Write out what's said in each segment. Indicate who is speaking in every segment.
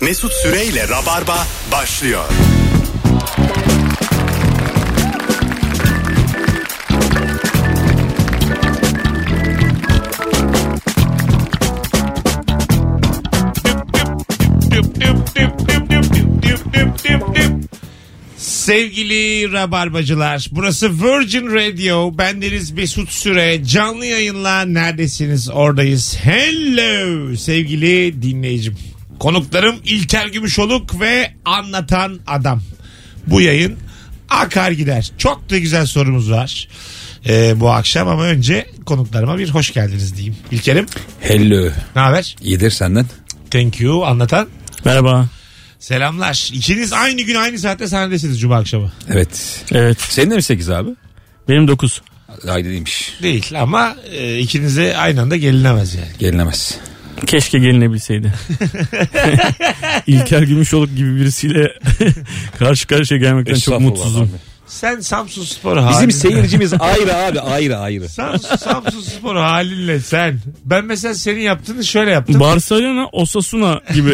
Speaker 1: Mesut Süreyle Rabarba başlıyor.
Speaker 2: Düp düp düp düp düp düp düp düp düp düp. Sevgili Rabarbacılar burası Virgin Radio bendeniz Mesut Süre canlı yayınla neredesiniz oradayız hello sevgili dinleyicim konuklarım İlker Gümüşoluk ve anlatan adam bu yayın akar gider çok da güzel sorumuz var ee, bu akşam ama önce konuklarıma bir hoş geldiniz diyeyim İlker'im
Speaker 3: Hello.
Speaker 2: ne haber
Speaker 3: İyidir senden.
Speaker 2: thank you anlatan
Speaker 4: Merhaba.
Speaker 2: Selamlar. İkiniz aynı gün aynı saatte sahnedesiniz Cuma akşamı.
Speaker 3: Evet.
Speaker 4: Evet.
Speaker 3: Senin de mi 8 abi?
Speaker 4: Benim 9.
Speaker 3: Haydi değilmiş.
Speaker 2: Değil ama e, ikinize aynı anda gelinemez yani.
Speaker 3: Gelinemez.
Speaker 4: Keşke gelinebilseydi. İlker Gümüşoluk gibi birisiyle karşı karşıya gelmekten çok
Speaker 3: Estağfurullah
Speaker 4: mutsuzum.
Speaker 3: abi.
Speaker 2: Sen Samsun Spor halin.
Speaker 3: Bizim seyircimiz ayrı abi ayrı ayrı.
Speaker 2: Samsun, Samsun Spor halinle sen. Ben mesela senin yaptığını şöyle yaptım.
Speaker 4: Barcelona Osasuna gibi.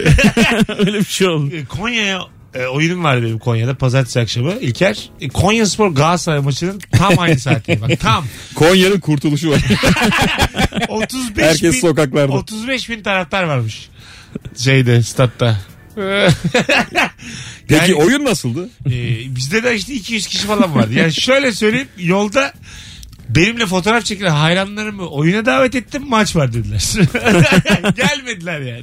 Speaker 4: Öyle bir şey oldu.
Speaker 2: E, Konya'ya e, oyunum var benim Konya'da pazartesi akşamı. İlker e, Konya Spor Galatasaray maçının tam aynı saati. Bak tam.
Speaker 3: Konya'nın kurtuluşu var.
Speaker 2: 35
Speaker 3: Herkes
Speaker 2: bin,
Speaker 3: sokaklarda.
Speaker 2: 35 bin taraftar varmış. Şeyde statta.
Speaker 3: Peki
Speaker 2: Yani-
Speaker 3: oyun nasıldı?
Speaker 2: Ee, bizde de işte 200 kişi falan vardı. Yani şöyle söyleyeyim yolda benimle fotoğraf çekilen hayranlarımı oyuna davet ettim maç var dediler. Gelmediler yani.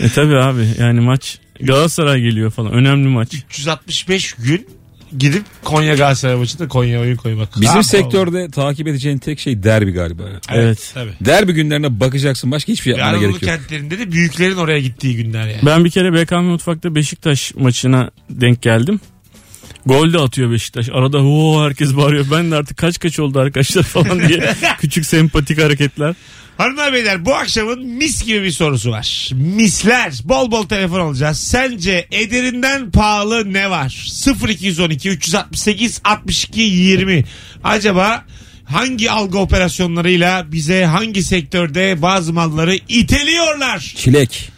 Speaker 4: E tabi abi yani maç Galatasaray geliyor falan. Önemli maç.
Speaker 2: 365 gün gidip Konya Galatasaray maçında Konya oyun koymak.
Speaker 3: Bizim
Speaker 2: Tamam,
Speaker 3: sektörde takip edeceğin tek şey derbi galiba.
Speaker 2: Evet.
Speaker 4: Evet.
Speaker 2: Tabii.
Speaker 3: Derbi günlerine bakacaksın başka hiçbir şey
Speaker 2: Ve
Speaker 3: yapmana
Speaker 2: Anadolu
Speaker 3: gerek yok.
Speaker 2: kentlerinde de büyüklerin oraya gittiği günler yani.
Speaker 4: Ben bir kere BKM Mutfak'ta Beşiktaş maçına denk geldim. Gol de atıyor Beşiktaş. Arada ho herkes bağırıyor. Ben de artık kaç kaç oldu arkadaşlar falan diye küçük sempatik hareketler.
Speaker 2: Hanımlar beyler bu akşamın mis gibi bir sorusu var. Misler. Bol bol telefon alacağız. Sence ederinden pahalı ne var? 0212 368 62 20. Acaba hangi algı operasyonlarıyla bize hangi sektörde bazı malları iteliyorlar?
Speaker 3: Çilek.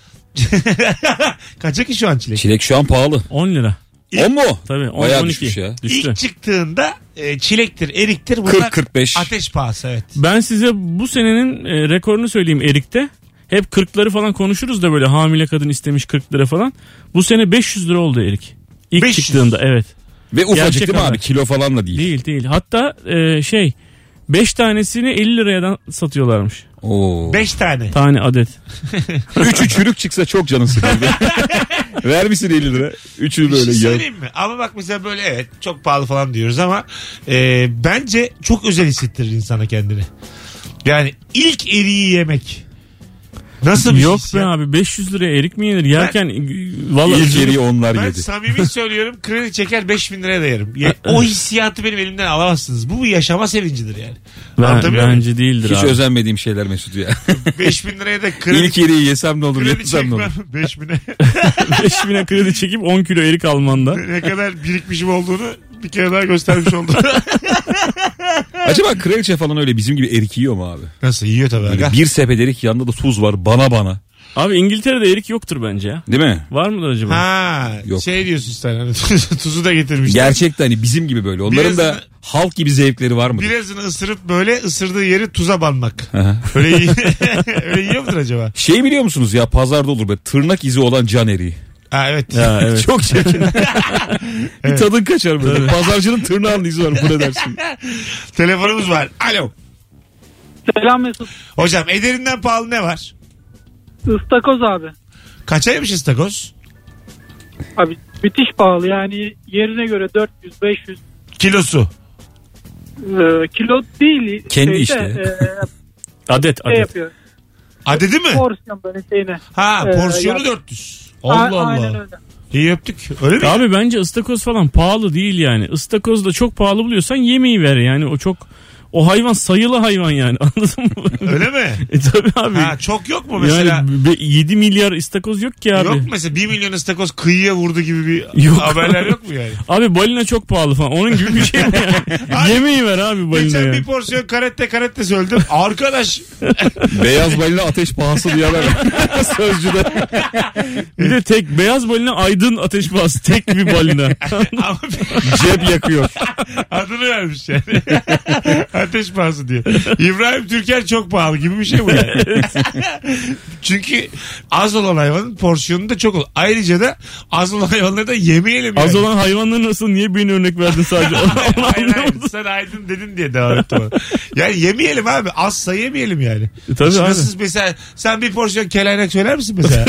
Speaker 2: Kaça ki şu an çilek?
Speaker 3: Çilek şu an pahalı.
Speaker 4: 10 lira.
Speaker 3: O mu?
Speaker 4: Tabii 10
Speaker 3: Bayağı
Speaker 4: 12.
Speaker 3: düşmüş ya.
Speaker 4: Düştü.
Speaker 2: İlk çıktığında e, çilektir, eriktir. Bunlar
Speaker 3: 40-45.
Speaker 2: Ateş pahası evet.
Speaker 4: Ben size bu senenin e, rekorunu söyleyeyim Erik'te. Hep 40'ları falan konuşuruz da böyle hamile kadın istemiş 40 lira falan. Bu sene 500 lira oldu Erik. İlk
Speaker 2: 500.
Speaker 4: çıktığında evet.
Speaker 3: Ve ufacık
Speaker 4: Gerçek
Speaker 3: değil mi abi?
Speaker 4: haber.
Speaker 3: Kilo falan da değil.
Speaker 4: Değil değil. Hatta e, şey 5 tanesini 50 liradan satıyorlarmış.
Speaker 3: Oo.
Speaker 2: 5 tane.
Speaker 4: Tane adet.
Speaker 3: Üçü çürük çıksa çok canın sıkıldı. Vermişsin 50 lira. Üçü
Speaker 2: Bir şey
Speaker 3: böyle yağ-
Speaker 2: söyleyeyim mi? Ama bak mesela böyle evet çok pahalı falan diyoruz ama e, bence çok özel hissettirir insana kendini. Yani ilk eriği yemek. Nasıl bir
Speaker 4: Yok
Speaker 2: his
Speaker 4: be
Speaker 2: ya?
Speaker 4: abi 500 liraya erik mi yenir? Yerken e, valla
Speaker 3: İlk geriye onlar
Speaker 2: Ben
Speaker 3: yedi.
Speaker 2: samimi söylüyorum kredi çeker 5000 liraya da yerim. Ya, o hissiyatı benim elimden alamazsınız. Bu bir yaşama sevincidir yani.
Speaker 4: ben,
Speaker 2: Anlatabiliyor muyum?
Speaker 4: bence değildir
Speaker 3: Hiç
Speaker 4: abi.
Speaker 3: özenmediğim şeyler Mesut ya.
Speaker 2: 5000 liraya da kredi,
Speaker 3: İlk yeri yesem ne olur,
Speaker 2: kredi
Speaker 3: yemesem ne olur.
Speaker 2: çekmem. 5000'e
Speaker 4: 5000'e kredi çekip 10 kilo erik almanda.
Speaker 2: ne kadar birikmişim olduğunu bir kere daha göstermiş oldum.
Speaker 3: Acaba kraliçe falan öyle bizim gibi erik yiyor mu abi?
Speaker 2: Nasıl yiyor tabii.
Speaker 3: Böyle
Speaker 2: aga.
Speaker 3: bir sepet erik yanında da tuz var bana bana.
Speaker 4: Abi İngiltere'de erik yoktur bence ya.
Speaker 3: Değil mi?
Speaker 4: Var mıdır acaba?
Speaker 2: Ha,
Speaker 3: Yok.
Speaker 2: şey diyorsun sen hani tuzu da getirmişler.
Speaker 3: Gerçekten hani bizim gibi böyle. Onların da
Speaker 2: Birazını-
Speaker 3: halk gibi zevkleri var mı?
Speaker 2: Birazını ısırıp böyle ısırdığı yeri tuza banmak.
Speaker 3: Aha.
Speaker 2: Öyle, iyi, öyle yiyor mudur acaba?
Speaker 3: Şey biliyor musunuz ya pazarda olur be tırnak izi olan can eriği.
Speaker 2: Ha, evet.
Speaker 4: Ya, evet.
Speaker 3: Çok çirkin. Bir tadın kaçar böyle. Pazarcının tırnağının izi var bu ne dersin?
Speaker 2: Telefonumuz var. Alo.
Speaker 5: Selam Mesut.
Speaker 2: Hocam ederinden pahalı ne var?
Speaker 5: Istakoz abi.
Speaker 2: Kaçaymış istakoz?
Speaker 5: Abi bitiş pahalı yani yerine göre 400-500
Speaker 2: Kilosu.
Speaker 5: e, kilo değil.
Speaker 3: Kendi
Speaker 5: şeyde,
Speaker 3: işte.
Speaker 5: e,
Speaker 4: Adet
Speaker 5: şey
Speaker 4: adet.
Speaker 5: yapıyor.
Speaker 2: Adedi mi?
Speaker 5: Porsiyon böyle şeyine.
Speaker 2: Ha
Speaker 5: Ee,
Speaker 2: porsiyonu
Speaker 5: ya-
Speaker 2: 400. Allah
Speaker 5: A- Aynen
Speaker 2: Allah.
Speaker 5: öyle.
Speaker 2: İyi öptük. Öyle mi?
Speaker 4: Abi bence ıstakoz falan pahalı değil yani. Istakoz da çok pahalı buluyorsan yemeği ver yani o çok O hayvan sayılı hayvan yani anladın mı?
Speaker 2: Öyle mi?
Speaker 4: e tabii abi.
Speaker 2: Ha, çok yok mu mesela?
Speaker 4: yani be- 7 milyar istakoz yok ki abi.
Speaker 2: Yok mu mesela 1 milyon istakoz kıyıya vurdu gibi bir
Speaker 4: Yok.
Speaker 2: haberler yok mu yani?
Speaker 4: Abi balina çok pahalı falan. Onun gibi bir şey mi yani? Yemeği ver abi balina
Speaker 2: Geçen
Speaker 4: ya.
Speaker 2: bir porsiyon karette karette söyledim. Arkadaş
Speaker 3: Beyaz balina ateş pahası diye haber var. Sözcüde.
Speaker 4: Bir de tek beyaz balina aydın ateş pahası. Tek bir balina.
Speaker 2: ama
Speaker 3: Cep yakıyor.
Speaker 2: adını vermiş yani. Ateş pahası diye. İbrahim Türker çok pahalı gibi bir şey bu yani. Çünkü az olan hayvanın porsiyonu da çok ol. Ayrıca da az olan hayvanları da yemeyelim yani.
Speaker 4: Az olan hayvanların arasında niye beni örnek verdin sadece? Onu, onu
Speaker 2: Hayır, hayır.
Speaker 4: anlamadım.
Speaker 2: Sen aydın dedin diye devam ettim. ona. Yani yemeyelim abi. Azsa yemeyelim yani.
Speaker 4: E tabii
Speaker 2: Şimdi
Speaker 4: abi.
Speaker 2: Nasıl mesela sen bir porsiyon kelaynak söyler misin mesela?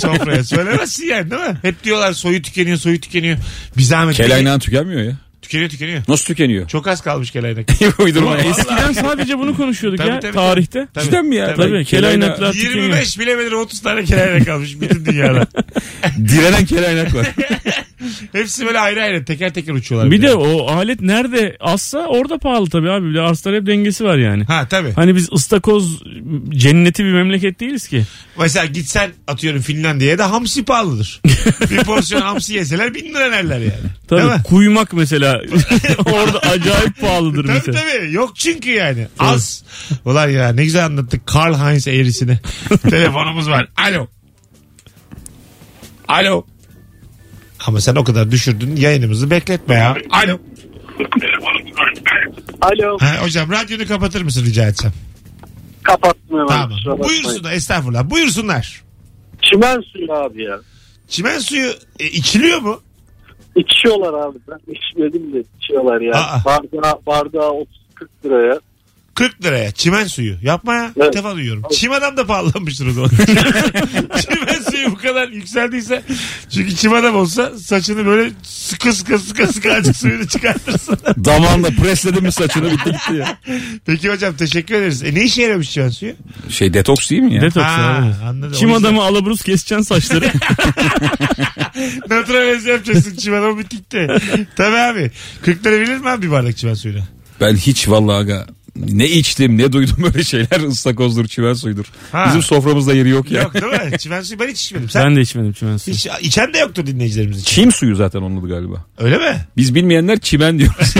Speaker 2: Sofraya söylemezsin yani değil mi? Hep diyorlar soyu tükeniyor soyu tükeniyor. Bir zahmet.
Speaker 3: Kelaynağın tükenmiyor ya.
Speaker 2: Tükeniyor tükeniyor.
Speaker 3: Nasıl tükeniyor?
Speaker 2: Çok az kalmış kelaynak.
Speaker 3: Uydurma.
Speaker 2: Vallahi.
Speaker 4: Eskiden sadece bunu konuşuyorduk
Speaker 2: Tabii,
Speaker 4: ya
Speaker 2: tabii,
Speaker 4: tarihte.
Speaker 2: tabii.
Speaker 3: Cidden mi ya?
Speaker 4: Tabii, kelaynaklar tükeniyor.
Speaker 2: 25 bilemedim 30 tane kelaynak kalmış bütün dünyada.
Speaker 3: Direnen kelaynak var.
Speaker 2: Hepsi böyle ayrı ayrı teker teker uçuyorlar.
Speaker 4: Bir
Speaker 2: de.
Speaker 4: de o alet nerede azsa orada pahalı tabii abi. Bir de arslar hep dengesi var yani.
Speaker 2: Ha tabii.
Speaker 4: Hani biz ıstakoz cenneti bir memleket değiliz ki.
Speaker 2: Mesela gitsen atıyorum Finlandiya'ya da hamsi pahalıdır. bir porsiyon hamsi yeseler bin lira derler yani.
Speaker 4: Tabii
Speaker 2: Değil mi?
Speaker 4: kuymak mesela orada acayip pahalıdır
Speaker 2: Tabii
Speaker 4: mesela.
Speaker 2: tabii. Yok çünkü yani. Az. Ulan ya ne güzel anlattık Karl Heinz eğrisini. Telefonumuz var. Alo. Alo. Ama sen o kadar düşürdün yayınımızı bekletme ya. Alo.
Speaker 5: Alo.
Speaker 2: Ha, hocam radyonu kapatır mısın rica etsem?
Speaker 5: Kapatmıyorum.
Speaker 2: Tamam. Buyursunlar estağfurullah. Buyursunlar.
Speaker 5: Çimen suyu abi ya.
Speaker 2: Çimen suyu e, içiliyor mu?
Speaker 5: İçiyorlar abi. Ben içmedim de içiyorlar ya.
Speaker 2: Aa.
Speaker 5: Bardağı, bardağı 30-40 liraya.
Speaker 2: 40 liraya çimen suyu. Yapma ya.
Speaker 5: Evet.
Speaker 2: İlk defa duyuyorum. Çim adam da pahalanmıştır o zaman. çimen suyu bu kadar yükseldiyse. Çünkü çim adam olsa saçını böyle sıkı sıkı sıkı sıkı azıcık suyunu çıkartırsın.
Speaker 3: Damağınla presledin mi saçını bitti gitti ya.
Speaker 2: Peki hocam teşekkür ederiz. E ne işe yaramış çimen suyu?
Speaker 3: Şey detoks değil mi ya?
Speaker 4: Detoks
Speaker 2: Ha,
Speaker 4: abi.
Speaker 2: anladım. O
Speaker 4: Çim
Speaker 2: yüzden
Speaker 4: adamı alabruz keseceksin saçları.
Speaker 2: Naturalize yapacaksın çim adamı bitikte. Tabii abi. 40 lira bilir mi abi bir bardak çimen suyuna?
Speaker 3: ben hiç vallahi aga ne içtim ne duydum öyle şeyler ıstakozdur çimen suyudur.
Speaker 2: Ha.
Speaker 3: Bizim soframızda yeri yok ya.
Speaker 2: Yok değil mi? Çimen suyu ben hiç içmedim. Sen
Speaker 4: ben de içmedim çimen suyu.
Speaker 2: hiç, içen de yoktur dinleyicilerimiz için.
Speaker 3: Çim suyu zaten onun adı galiba.
Speaker 2: Öyle mi?
Speaker 3: Biz bilmeyenler çimen diyoruz.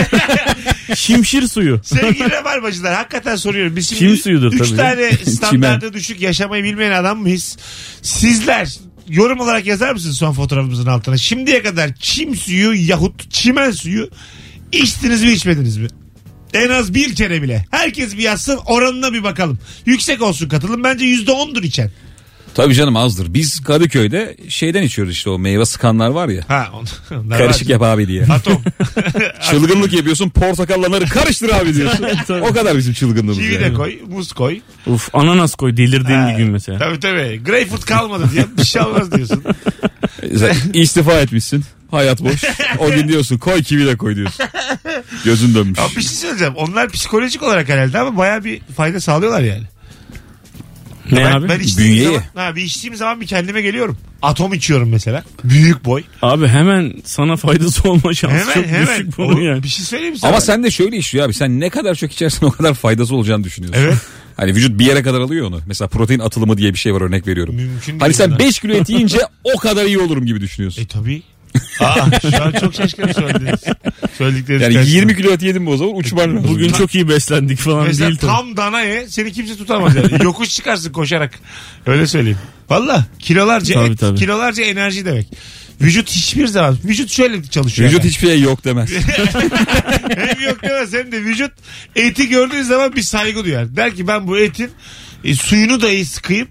Speaker 4: Şimşir suyu.
Speaker 2: Sevgili Rabarbacılar hakikaten soruyorum. Biz şimdi
Speaker 4: Çim suyudur
Speaker 2: üç
Speaker 4: tabii.
Speaker 2: tane standarda düşük yaşamayı bilmeyen adam mıyız? Sizler yorum olarak yazar mısınız son fotoğrafımızın altına? Şimdiye kadar çim suyu yahut çimen suyu içtiniz mi içmediniz mi? En az bir kere bile. Herkes bir yazsın oranına bir bakalım. Yüksek olsun katılım. Bence yüzde ondur içen.
Speaker 3: Tabii canım azdır. Biz Kadıköy'de şeyden içiyoruz işte o meyve sıkanlar var ya.
Speaker 2: Ha, on- onlar
Speaker 3: Karışık
Speaker 2: var.
Speaker 3: yap abi diye.
Speaker 2: Atom.
Speaker 3: Çılgınlık yapıyorsun portakalları karıştır abi diyorsun. o kadar bizim çılgınlığımız
Speaker 2: Kivi de
Speaker 3: yani.
Speaker 2: koy, muz koy.
Speaker 4: Uf ananas koy delirdiğin
Speaker 2: Ha,
Speaker 4: bir gün mesela.
Speaker 2: Tabii tabii. Greyfurt kalmadı diye bir şey olmaz diyorsun.
Speaker 3: Sen İstifa etmişsin. Hayat boş. O gün diyorsun koy kivi de koy diyorsun. Gözün dönmüş.
Speaker 2: Ama bir şey söyleyeceğim. Onlar psikolojik olarak herhalde ama baya bir fayda sağlıyorlar yani.
Speaker 4: Ne
Speaker 2: ben,
Speaker 4: abi?
Speaker 2: ben içtiğim
Speaker 3: Bünyeye.
Speaker 2: zaman, ha, bir içtiğim zaman bir kendime geliyorum. Atom içiyorum mesela. Büyük boy.
Speaker 4: Abi hemen sana faydası olma şansı
Speaker 2: Hemen
Speaker 4: çok
Speaker 2: hemen.
Speaker 4: düşük bunun
Speaker 2: Oğlum,
Speaker 4: yani.
Speaker 2: Bir şey söyleyeyim mi sana?
Speaker 3: Ama sen de şöyle işliyor abi. Sen ne kadar çok içersen o kadar faydası olacağını düşünüyorsun.
Speaker 2: Evet.
Speaker 3: Hani vücut bir yere kadar alıyor onu. Mesela protein atılımı diye bir şey var örnek veriyorum.
Speaker 2: Mümkün
Speaker 3: hani
Speaker 2: değil
Speaker 3: sen
Speaker 2: ya.
Speaker 3: 5 kilo et yiyince o kadar iyi olurum gibi düşünüyorsun.
Speaker 2: E tabii. Aa, şu an çok şaşkınım söylediğiniz. Söyledikleriniz
Speaker 3: Yani
Speaker 2: karşısında.
Speaker 3: 20 kilo et yedim mi o zaman
Speaker 2: E,
Speaker 3: uçman lazım.
Speaker 4: Bugün çok iyi beslendik falan
Speaker 2: Mesela
Speaker 4: değil tabii.
Speaker 2: tam dana ye seni kimse tutamaz yani. Yokuş çıkarsın koşarak. Öyle söyleyeyim. Valla kilolarca
Speaker 4: Tabii,
Speaker 2: et,
Speaker 4: tabii.
Speaker 2: kilolarca enerji demek. Vücut hiçbir zaman. Vücut şöyle çalışıyor.
Speaker 3: Vücut
Speaker 2: yani.
Speaker 3: hiçbir şey yok demez.
Speaker 2: hem yok demez hem de vücut eti gördüğü zaman bir saygı duyar. Der ki ben bu etin e, suyunu dahi sıkayım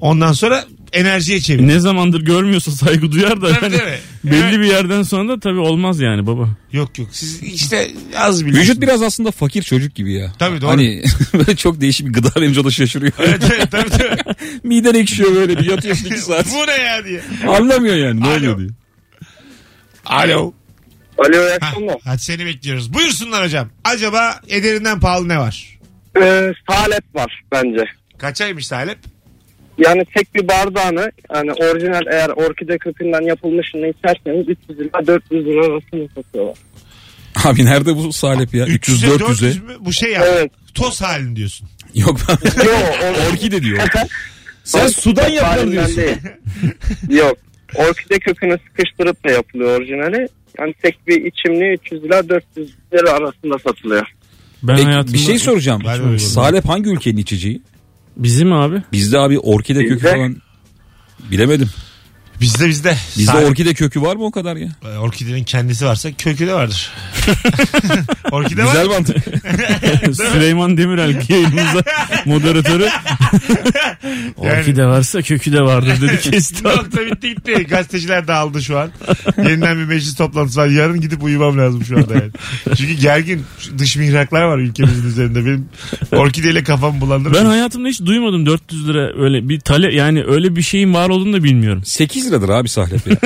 Speaker 2: ondan sonra enerjiye çevir.
Speaker 4: Ne zamandır görmüyorsa saygı duyar da
Speaker 2: Tabii,
Speaker 4: yani
Speaker 2: tabii.
Speaker 4: belli
Speaker 2: Evet.
Speaker 4: bir yerden sonra da tabii olmaz yani baba.
Speaker 2: Yok yok siz işte az biliyorsunuz.
Speaker 3: Vücut biraz aslında fakir çocuk gibi ya.
Speaker 2: Tabii, doğru.
Speaker 3: Hani böyle çok değişik bir gıda verince o da şaşırıyor.
Speaker 2: Evet, evet, tabii, tabii.
Speaker 3: Miden ekşiyor böyle bir yatıyorsun 2 saat.
Speaker 2: bu ne ya diye.
Speaker 3: Anlamıyor yani ne
Speaker 2: Alo.
Speaker 3: oluyor diye.
Speaker 2: Alo.
Speaker 5: Alo iyi
Speaker 2: Ha, hadi seni bekliyoruz. Buyursunlar hocam. Acaba ederinden pahalı ne var?
Speaker 6: Ee, salep var bence.
Speaker 2: Kaçaymış Salep?
Speaker 6: Yani tek bir bardağını yani orijinal eğer orkide kökünden yapılmışını içerseniz 300 lira 400 lira arasında satıyorlar.
Speaker 3: Abi nerede bu salep ya? 300
Speaker 2: 300'e 400
Speaker 3: 400'e.
Speaker 2: mü? Bu şey ya.
Speaker 6: Evet.
Speaker 2: Toz halini diyorsun.
Speaker 3: Yok ben
Speaker 6: Yo, or-
Speaker 3: orkide diyor. Sen sudan yapılır
Speaker 6: halinden
Speaker 3: diyorsun.
Speaker 6: değil. Yok. Orkide kökünü sıkıştırıp da yapılıyor orijinali. Yani tek bir içimli 300 ila 400 lira arasında satılıyor.
Speaker 4: Ben
Speaker 3: Peki,
Speaker 4: hayatımda...
Speaker 3: bir şey soracağım.
Speaker 2: Ben öyle
Speaker 3: Salep hangi ülkenin içeceği?
Speaker 4: Bizim abi.
Speaker 3: Bizde abi orkide kökü
Speaker 6: Bizde-
Speaker 3: falan bilemedim.
Speaker 2: Bizde bizde.
Speaker 3: Bizde
Speaker 2: Sa-
Speaker 3: orkide kökü var mı o kadar ya?
Speaker 2: e, orkidenin kendisi varsa kökü de vardır. Orkide var.
Speaker 3: Güzel mantık.
Speaker 4: Süleyman Demirel yayınımıza moderatörü. Orkide varsa kökü de vardır dedi kesti.
Speaker 2: Nokta bitti gitti. Gazeteciler dağıldı şu an. Yeniden bir meclis toplantısı var. Yarın gidip uyumam lazım şu anda yani. Çünkü gergin dış mihraklar var ülkemizin üzerinde. Benim orkideyle kafam bulandı.
Speaker 4: Ben hayatımda hiç duymadım 400 lira öyle bir tale yani öyle bir şeyin var olduğunu da bilmiyorum.
Speaker 3: 8 liradır abi salep ya.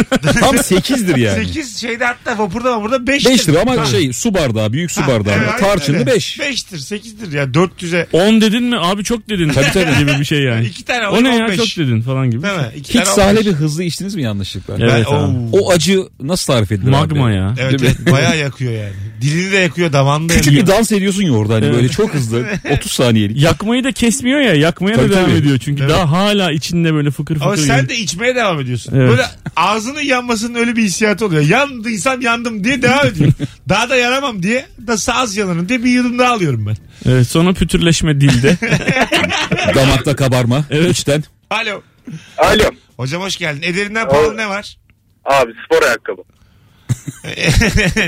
Speaker 3: Tam 8'dir yani.
Speaker 2: 8 şeyde hatta vapurda vapurda 5
Speaker 3: 5 lira ama şey su bardağı büyük su bardağı. Tarçınlı 5.
Speaker 2: 5'tir 8'dir ya 400'e
Speaker 4: 10 dedin mi abi çok dedin
Speaker 3: Tabii, tabii.
Speaker 4: gibi bir şey yani.
Speaker 2: İki tane
Speaker 4: o ne
Speaker 2: alayım,
Speaker 4: ya
Speaker 2: 15.
Speaker 4: çok dedin falan gibi.
Speaker 2: değil mi? 2
Speaker 3: Hiç sahlebi hızlı içtiniz mi yanlışlıkla?
Speaker 4: Evet. abi.
Speaker 3: O acı nasıl tarif edilir
Speaker 4: Magma
Speaker 3: abi?
Speaker 4: ya.
Speaker 2: Evet,
Speaker 3: Değil mi?
Speaker 2: evet bayağı yakıyor yani. Dilini de yakıyor damağını da
Speaker 3: Küçük
Speaker 2: yakıyor.
Speaker 3: bir dans ediyorsun ya orada hani
Speaker 4: Evet.
Speaker 3: böyle çok hızlı 30 saniyelik.
Speaker 4: Yakmayı da kesmiyor ya yakmaya
Speaker 3: Tabii,
Speaker 4: da devam
Speaker 3: tabii.
Speaker 4: ediyor çünkü
Speaker 2: Evet.
Speaker 4: daha hala içinde böyle fıkır fıkır.
Speaker 2: Ama sen
Speaker 4: yanıyor.
Speaker 2: de içmeye devam ediyorsun.
Speaker 4: Evet.
Speaker 2: Böyle ağzının yanmasının öyle bir hissiyatı oluyor. Yandıysam yandım diye devam ediyor. daha da yanamam diye da az yanarım diye bir yudum daha alıyorum ben.
Speaker 4: Evet, sonra pütürleşme dilde.
Speaker 3: Damakta kabarma. içten.
Speaker 2: Alo.
Speaker 6: Alo.
Speaker 2: Hocam hoş geldin. Ederinden pahalı ne var?
Speaker 6: Abi spor ayakkabı.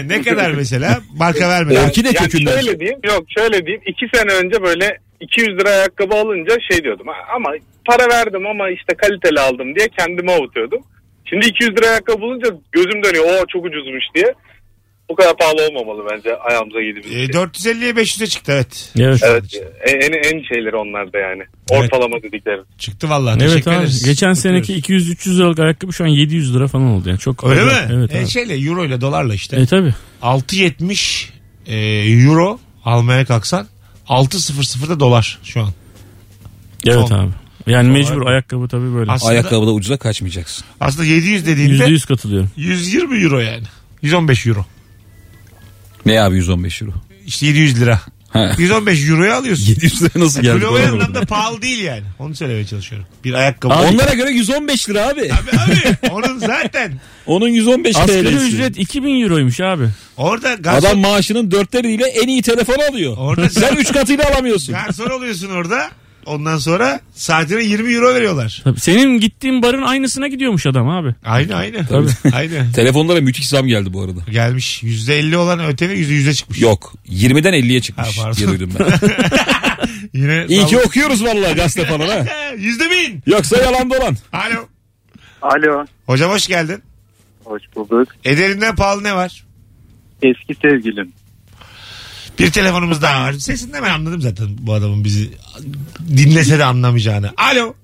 Speaker 2: ne kadar mesela? Marka vermeden.
Speaker 3: Orkide kökünden.
Speaker 6: Şöyle diyeyim, yok şöyle diyeyim. İki sene önce böyle 200 lira ayakkabı alınca şey diyordum. "Ha, Ama para verdim ama işte kaliteli aldım diye kendime avutuyordum. Şimdi 200 lira ayakkabı bulunca gözüm dönüyor. Oo çok ucuzmuş diye. Bu kadar pahalı olmamalı bence ayağımıza giydiğimiz.
Speaker 2: E,
Speaker 6: şey.
Speaker 2: 450'ye 500'e çıktı evet.
Speaker 4: evet.
Speaker 6: Evet e- en, en şeyleri onlar da yani. Ortalama dedikleri.
Speaker 2: Çıktı vallahi.
Speaker 4: Evet
Speaker 2: Teşekkür
Speaker 4: abi.
Speaker 2: ederiz.
Speaker 4: Geçen seneki 200-300 liralık ayakkabı şu an 700 lira falan oldu yani. Çok
Speaker 2: Öyle
Speaker 4: acayip.
Speaker 2: mi?
Speaker 4: Evet
Speaker 2: E,
Speaker 4: abi.
Speaker 2: şeyle euro ile dolarla işte.
Speaker 4: E tabi.
Speaker 2: 6.70 e, euro almaya kalksan 6.00'da dolar şu an.
Speaker 4: Evet
Speaker 2: Son.
Speaker 4: abi. Yani mecbur
Speaker 2: abi.
Speaker 4: ayakkabı tabi böyle.
Speaker 2: Aslında,
Speaker 3: Ayakkabıda ucuza kaçmayacaksın.
Speaker 2: aslında 700 dediğinde
Speaker 4: %100 katılıyorum.
Speaker 2: 120 euro yani. 115 euro.
Speaker 3: Ne abi 115 euro?
Speaker 2: İşte 700 lira.
Speaker 3: Ha.
Speaker 2: 115 euroya alıyorsun.
Speaker 3: 700 lira nasıl geldi?
Speaker 2: Böyle o
Speaker 3: bana?
Speaker 2: anlamda pahalı değil yani. Onu söylemeye çalışıyorum. Bir ayakkabı.
Speaker 4: Abi-
Speaker 3: Onlara göre 115 lira abi.
Speaker 2: Abi, abi, onun zaten
Speaker 3: Onun 115
Speaker 4: Asgari
Speaker 3: TL'si.
Speaker 4: ücret 2000 euroymuş abi.
Speaker 2: orada garson,
Speaker 3: Adam maaşının dörtte biriyle en iyi telefon alıyor.
Speaker 2: Orada-
Speaker 3: Sen 3 katıyla alamıyorsun.
Speaker 2: garson oluyorsun orada. Ondan sonra saatine 20 euro veriyorlar.
Speaker 4: Tabii senin gittiğin barın aynısına gidiyormuş adam abi.
Speaker 2: Aynı aynı. Aynı.
Speaker 3: Telefonlara müthiş zam geldi bu arada.
Speaker 2: Gelmiş. %50 olan ötene %100'e çıkmış.
Speaker 3: Yok. 20'den 50'ye çıkmış
Speaker 2: Ha, pardon.
Speaker 3: diye duydum ben.
Speaker 2: Yine
Speaker 3: İyi ki
Speaker 2: sağ-
Speaker 3: okuyoruz vallahi gazete falan ha.
Speaker 2: Yüzde bin.
Speaker 3: Yoksa yalan dolan.
Speaker 2: Alo.
Speaker 7: Alo.
Speaker 2: Hocam hoş geldin.
Speaker 7: Hoş bulduk.
Speaker 2: Ederinden pahalı ne var?
Speaker 7: Eski sevgilim.
Speaker 2: Bir telefonumuz daha var. Sesinden ben anladım zaten bu adamın bizi dinlese de anlamayacağını. Alo.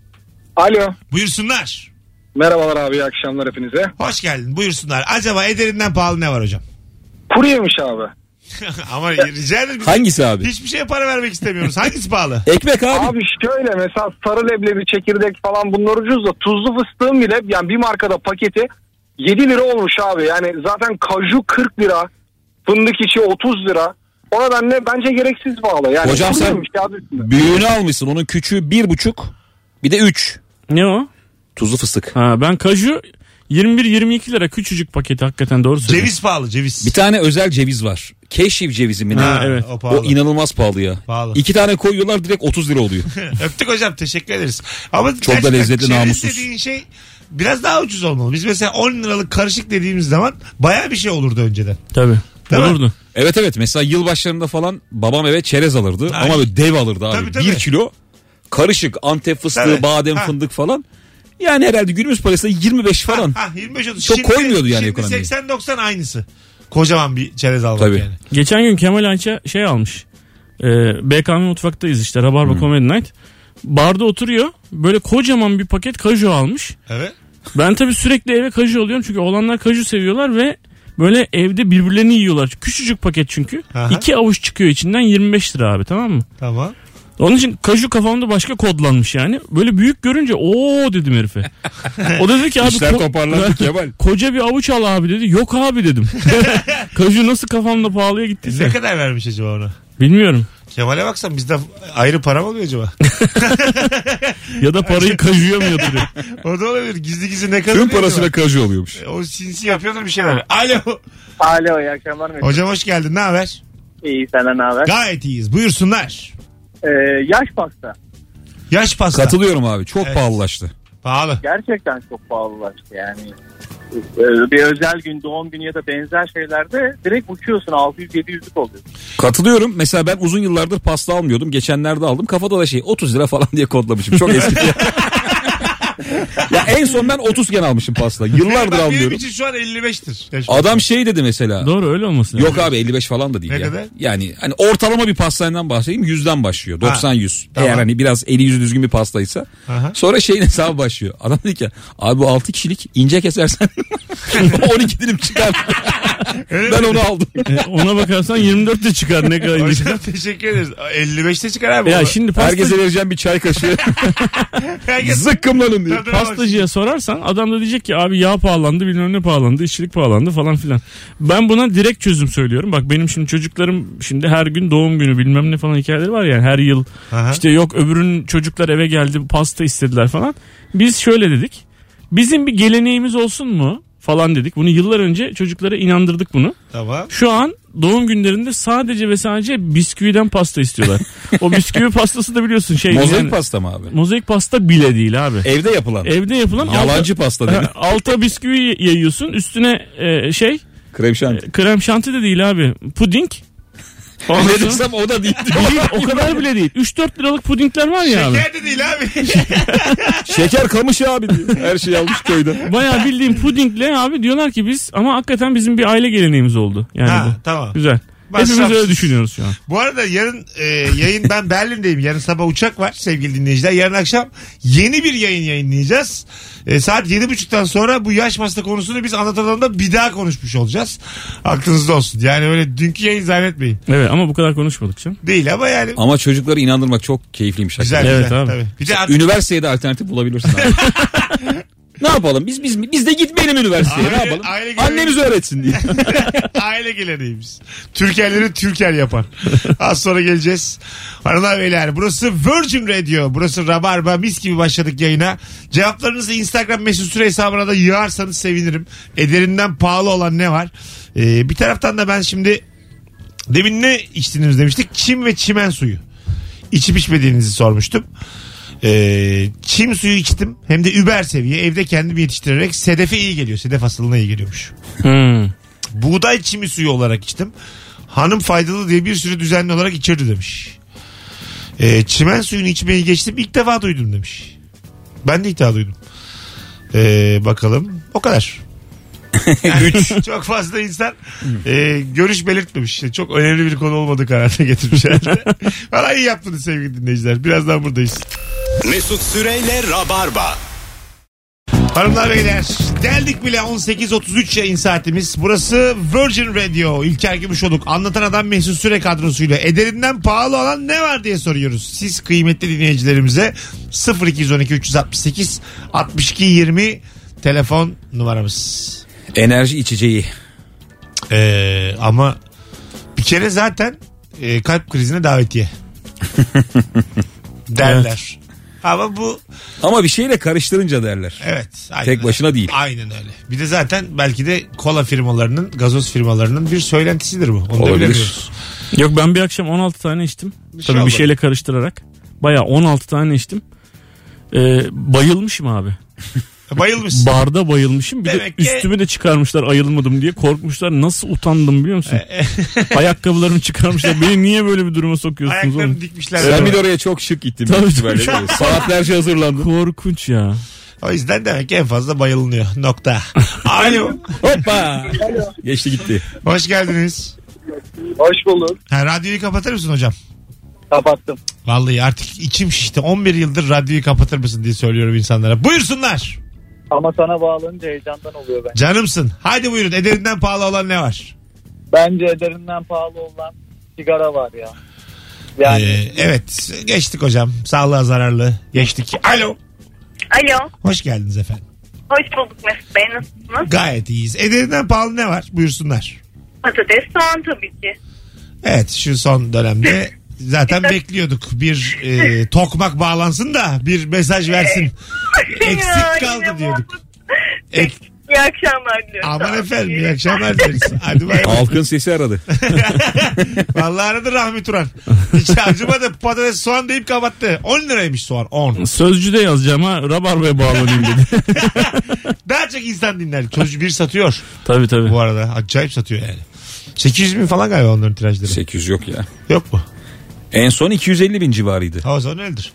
Speaker 7: Alo.
Speaker 2: Buyursunlar.
Speaker 7: Merhabalar abi iyi akşamlar hepinize.
Speaker 2: Hoş geldin. Buyursunlar. Acaba ederinden pahalı ne var hocam?
Speaker 7: Kuru yemiş abi.
Speaker 2: Ama rica ederim.
Speaker 3: Hangisi abi?
Speaker 2: Hiçbir şeye para vermek istemiyoruz. Hangisi pahalı?
Speaker 3: Ekmek abi.
Speaker 7: Abi şöyle mesela sarı leblebi çekirdek falan bunlar ucuz da tuzlu fıstığın bile yani bir markada paketi 7 lira olmuş abi. Yani zaten kaju 40 lira fındık içi 30 lira. O nedenle bence gereksiz pahalı. Yani
Speaker 3: Hocam
Speaker 7: kuru
Speaker 3: sen-
Speaker 7: yemiş kağıdı üstünde.
Speaker 3: Büyüğünü almışsın. Onun küçüğü bir buçuk. Bir de üç.
Speaker 4: Ne o?
Speaker 3: Tuzlu fıstık.
Speaker 4: Ha, ben kaju 21-22 lira küçücük paketi hakikaten doğru söylüyorsun.
Speaker 2: ceviz pahalı ceviz.
Speaker 3: Bir tane özel ceviz var. Keşif cevizi mi ne?
Speaker 2: Ha,
Speaker 4: evet.
Speaker 2: O pahalı.
Speaker 3: o inanılmaz pahalı ya.
Speaker 2: Pahalı.
Speaker 3: İki tane koyuyorlar direkt 30 lira oluyor.
Speaker 2: Öptük hocam teşekkür ederiz. Ama
Speaker 3: Çok da
Speaker 2: gerçekten
Speaker 3: lezzetli,
Speaker 2: ceviz
Speaker 3: namussuz.
Speaker 2: dediğin şey biraz daha ucuz olmalı. Biz mesela 10 liralık karışık dediğimiz zaman baya bir şey olurdu önceden.
Speaker 4: Tabi.
Speaker 2: Değil mi?
Speaker 4: Olurdu.
Speaker 3: evet evet mesela yılbaşlarında falan babam eve çerez alırdı.
Speaker 2: Ay.
Speaker 3: Ama böyle dev alırdı abi.
Speaker 2: Tabii, tabii.
Speaker 3: Bir kilo karışık antep fıstığı,
Speaker 2: Tabii.
Speaker 3: badem,
Speaker 2: Ha.
Speaker 3: fındık falan. Yani herhalde günümüz parasında 25 falan.
Speaker 2: Ha, ha, 25 30.
Speaker 3: Çok koymuyordu yani
Speaker 2: şimdi
Speaker 3: ekonomiye.
Speaker 2: 80-90 aynısı. Kocaman bir çerez almak
Speaker 3: Tabii.
Speaker 2: yani.
Speaker 4: Geçen gün Kemal Ayça şey almış. Ee, BKM mutfaktayız işte Rabarba Comedy Night. Barda oturuyor. Böyle kocaman bir paket kaju almış.
Speaker 2: Evet.
Speaker 4: Ben tabii sürekli eve kaju alıyorum çünkü olanlar kaju seviyorlar ve böyle evde birbirlerini yiyorlar. Küçücük paket çünkü.
Speaker 2: Aha.
Speaker 4: İki avuç çıkıyor içinden 25 lira abi tamam mı?
Speaker 2: Tamam.
Speaker 4: Onun için kaju kafamda başka kodlanmış yani. Böyle büyük görünce o dedim herife. O da dedi ki abi
Speaker 3: İşler
Speaker 4: ko-
Speaker 3: toparlandı Kemal.
Speaker 4: koca bir avuç al abi dedi. Yok abi dedim. kaju nasıl kafamda pahalıya
Speaker 2: Ne
Speaker 4: gittiyse.
Speaker 2: kadar vermiş acaba ona?
Speaker 4: Bilmiyorum.
Speaker 2: Kemal'e baksan bizde ayrı para mı oluyor acaba?
Speaker 4: Ya da parayı kajuya mı yatırıyor?
Speaker 2: o da olabilir. Gizli gizli ne kadar
Speaker 3: Tüm parasına kaju oluyormuş.
Speaker 2: O sinsi yapıyordur bir şeyler. Alo.
Speaker 8: Alo iyi akşamlar Mesut.
Speaker 2: Hocam hoş geldin. Ne haber?
Speaker 8: İyi senden ne haber?
Speaker 2: Gayet iyiyiz. Buyursunlar.
Speaker 8: Ee, yaş pasta.
Speaker 2: Yaş pasta.
Speaker 3: Katılıyorum abi. Çok
Speaker 2: Evet.
Speaker 3: pahalılaştı.
Speaker 2: Pahalı.
Speaker 8: Gerçekten çok pahalılaştı yani. Ee, bir özel gün, doğum günü ya da benzer şeylerde direkt uçuyorsun 600-700'lük oluyor.
Speaker 3: Katılıyorum. Mesela ben uzun yıllardır pasta almıyordum. Geçenlerde aldım. Kafada da şey 30 lira falan diye kodlamışım. Çok eski. ya en son ben 30 gen almışım pasta. Yıllardır
Speaker 2: Bak, benim
Speaker 3: almıyorum.
Speaker 2: için şu an 55'tir. Yaş pasta.
Speaker 3: Adam şey dedi mesela.
Speaker 4: Doğru öyle olmasın.
Speaker 3: Yok abi 55 falan da değil
Speaker 2: Ne
Speaker 3: ya.
Speaker 2: kadar?
Speaker 3: Yani hani ortalama bir pastaneden bahsedeyim 100'den başlıyor. 90 100.
Speaker 2: tamam.
Speaker 3: Eğer hani biraz eli yüzü düzgün bir pastaysa.
Speaker 2: Aha.
Speaker 3: Sonra şeyin hesabı başlıyor. Adam dedi ki abi bu 6 kişilik ince kesersen 12 dilim çıkar. ben onu aldım.
Speaker 4: E, ona bakarsan 24 de çıkar ne kadar. iyi.
Speaker 2: Hocam teşekkür ederiz. 55'te çıkar abi.
Speaker 4: ya
Speaker 2: Onu-
Speaker 4: şimdi pasta,
Speaker 3: Herkese vereceğim bir çay kaşığı.
Speaker 2: Herkes
Speaker 3: Zıkkımlanın diyor.
Speaker 2: tadına bak.
Speaker 4: pastacıya sorarsan adam da diyecek ki abi yağ pahalandı bilmem ne pahalandı işçilik pahalandı falan filan. Ben buna direkt çözüm söylüyorum. Bak benim şimdi çocuklarım şimdi her gün doğum günü bilmem ne falan hikayeleri var yani her yıl
Speaker 2: Aha.
Speaker 4: işte yok öbürün çocuklar eve geldi pasta istediler falan. Biz şöyle dedik bizim bir geleneğimiz olsun mu falan dedik. Bunu yıllar önce çocuklara inandırdık bunu.
Speaker 2: Tamam.
Speaker 4: Şu an doğum günlerinde sadece ve sadece bisküviden pasta istiyorlar. o bisküvi pastası da biliyorsun şey. yani-
Speaker 3: Mozaik pasta mı abi?
Speaker 4: Mozaik pasta bile değil abi.
Speaker 3: Evde yapılan.
Speaker 4: Evde yapılan
Speaker 3: Yalancı pasta dedi.
Speaker 4: alta, alta bisküvi yayıyorsun üstüne e, şey
Speaker 3: Krem şanti.
Speaker 4: krem şanti de değil abi puding. Ondan
Speaker 3: Ne
Speaker 4: sonra-
Speaker 3: dersem o da değil.
Speaker 4: Değil, o kadar bile değil. 3-4 liralık pudingler var ya abi.
Speaker 2: Nerede değil abi.
Speaker 3: Şeker kamış abi diyor. Her şeyi almış köyde.
Speaker 4: Bayağı bildiğin pudingle abi diyorlar ki biz ama hakikaten bizim bir aile geleneğimiz oldu. Yani
Speaker 2: ha,
Speaker 4: bu.
Speaker 2: tamam.
Speaker 4: Güzel. Hepimiz
Speaker 2: Masrafsız.
Speaker 4: öyle
Speaker 3: şey.
Speaker 4: düşünüyoruz şu an.
Speaker 2: Bu arada yarın e, yayın ben Berlin'deyim. Yarın sabah uçak var sevgili dinleyiciler. Yarın akşam yeni bir yayın yayınlayacağız. E, saat 7.30'dan sonra bu yaş pasta konusunu biz anlatılanında bir daha konuşmuş olacağız. Aklınızda olsun. Yani öyle dünkü yayın zannetmeyin.
Speaker 4: Evet ama bu kadar konuşmadık canım.
Speaker 2: Değil ama yani
Speaker 3: Ama çocukları inandırmak çok keyifliymiş.
Speaker 2: güzel.
Speaker 3: hakikaten.
Speaker 4: Evet
Speaker 2: güzel.
Speaker 4: abi.
Speaker 2: Tabii. Bir de artık
Speaker 3: Üniversiteye de alternatif bulabilirsin abi. ne yapalım? Biz biz biz de gitmeyelim üniversiteye. ne
Speaker 2: Aile-
Speaker 3: yapalım?
Speaker 2: aile geleneği-
Speaker 3: Annemiz öğretsin diye.
Speaker 2: aile geleneğimiz. Türkerleri Türker yapar. Az sonra geleceğiz. Hanımlar beyler burası Virgin Radio. Burası Rabarba. Mis gibi başladık yayına. Cevaplarınızı Instagram mesut süre hesabına da yığarsanız sevinirim. Ederinden pahalı olan ne var? Ee, bir taraftan da ben şimdi demin ne içtiniz demiştik. Çim ve çimen suyu. İçip içmediğinizi sormuştum. Ee, çim suyu içtim. Hem de über seviye. Evde kendim yetiştirerek sedefe iyi geliyor. Sedef hastalığına iyi geliyormuş
Speaker 4: Hmm.
Speaker 2: buğday çimi suyu olarak içtim. Hanım faydalı diye bir sürü düzenli olarak içirdi demiş. E, çimen suyunu içmeyi geçtim ilk defa duydum demiş. Ben de ilk defa duydum. E, bakalım o kadar. Güç. Çok fazla insan e, görüş belirtmemiş. Çok önemli bir konu olmadığı kararına getirmiş herhalde. Valla iyi yaptınız sevgili dinleyiciler. Birazdan buradayız.
Speaker 1: Mesut Süreyle Rabarba.
Speaker 2: Hanımlar beyler geldik bile 18.33 yayın saatimiz. Burası Virgin Radio. İlker Gümüşoluk anlatan adam Mesut Süre kadrosuyla ederinden pahalı olan ne var diye soruyoruz. Siz kıymetli dinleyicilerimize 0212 368 62 20 telefon numaramız.
Speaker 3: Enerji içeceği.
Speaker 2: Ee, ama bir kere zaten e, kalp krizine davetiye derler. Ama bu
Speaker 3: Ama bir şeyle karıştırınca derler.
Speaker 2: Evet. aynen
Speaker 3: Tek
Speaker 2: öyle.
Speaker 3: başına değil.
Speaker 2: Aynen öyle. Bir de zaten belki de kola firmalarının, gazoz firmalarının bir söylentisidir bu. Onu da
Speaker 3: Olabilir.
Speaker 2: bilemiyoruz.
Speaker 4: Yok ben bir akşam 16 tane içtim. Tabii
Speaker 2: olmadı.
Speaker 4: bir şeyle karıştırarak. Baya 16 tane içtim. Ee, bayılmışım abi.
Speaker 2: Bayılmışsın.
Speaker 4: Barda bayılmışım. Bir
Speaker 2: Demek
Speaker 4: de
Speaker 2: ki-
Speaker 4: üstümü de çıkarmışlar ayılmadım diye. Korkmuşlar. Nasıl utandım biliyor musun? Ayakkabılarımı çıkarmışlar. Beni niye böyle bir duruma sokuyorsunuz oğlum?
Speaker 2: Ayaklarını dikmişler.
Speaker 3: Sen bir de oraya çok şık gittin.
Speaker 4: Tabii,
Speaker 3: Tabii,
Speaker 4: tabii.
Speaker 3: Saatlerce hazırlandın.
Speaker 4: Korkunç ya.
Speaker 2: O yüzden demek ki en fazla bayılınıyor. Nokta. Alo.
Speaker 3: Hoppa. Geçti gitti.
Speaker 2: Hoş geldiniz.
Speaker 8: Hoş bulduk.
Speaker 2: Ha, radyoyu kapatır mısın hocam?
Speaker 8: Kapattım.
Speaker 2: Vallahi artık içim şişti. 11 yıldır radyoyu kapatır mısın diye söylüyorum insanlara. Buyursunlar.
Speaker 8: Ama sana bağlanınca heyecandan oluyor ben.
Speaker 2: Canımsın. Hadi buyurun. Ederinden pahalı olan ne var?
Speaker 8: Bence ederinden pahalı olan sigara var ya. Yani
Speaker 2: Ee, evet geçtik hocam. Sağlığa zararlı. Geçtik. Alo.
Speaker 9: Alo.
Speaker 2: Hoş geldiniz efendim.
Speaker 9: Hoş bulduk Mesut Bey. Nasılsınız?
Speaker 2: Gayet iyiyiz. Ederinden pahalı ne var? Buyursunlar.
Speaker 9: Patates soğan tabii ki.
Speaker 2: Evet şu son dönemde zaten bekliyorduk. Bir e, tokmak bağlansın da bir mesaj versin. Eksik kaldı
Speaker 9: Yine
Speaker 2: diyorduk.
Speaker 9: bu-
Speaker 2: Ek-
Speaker 9: İyi akşamlar diliyorum.
Speaker 2: Aman
Speaker 9: Sağ olun.
Speaker 2: efendim iyi akşamlar dileriz. Hadi bay bay.
Speaker 3: Halkın sesi aradı.
Speaker 2: Vallahi aradı Rahmi Turan. Hiç acımadı patates soğan deyip kapattı. 10 liraymış soğan 10.
Speaker 4: Sözcüde yazacağım ha. Rabarba'ya bağlanayım dedi.
Speaker 2: Daha çok insan dinler. Çocuk bir satıyor
Speaker 4: tabii tabii.
Speaker 2: bu arada. Acayip satıyor yani. 800 bin falan galiba onların tirajları.
Speaker 3: 800 yok ya.
Speaker 2: Yok mu?
Speaker 3: En son 250 bin civarıydı.
Speaker 2: Ha o zaman öyledir.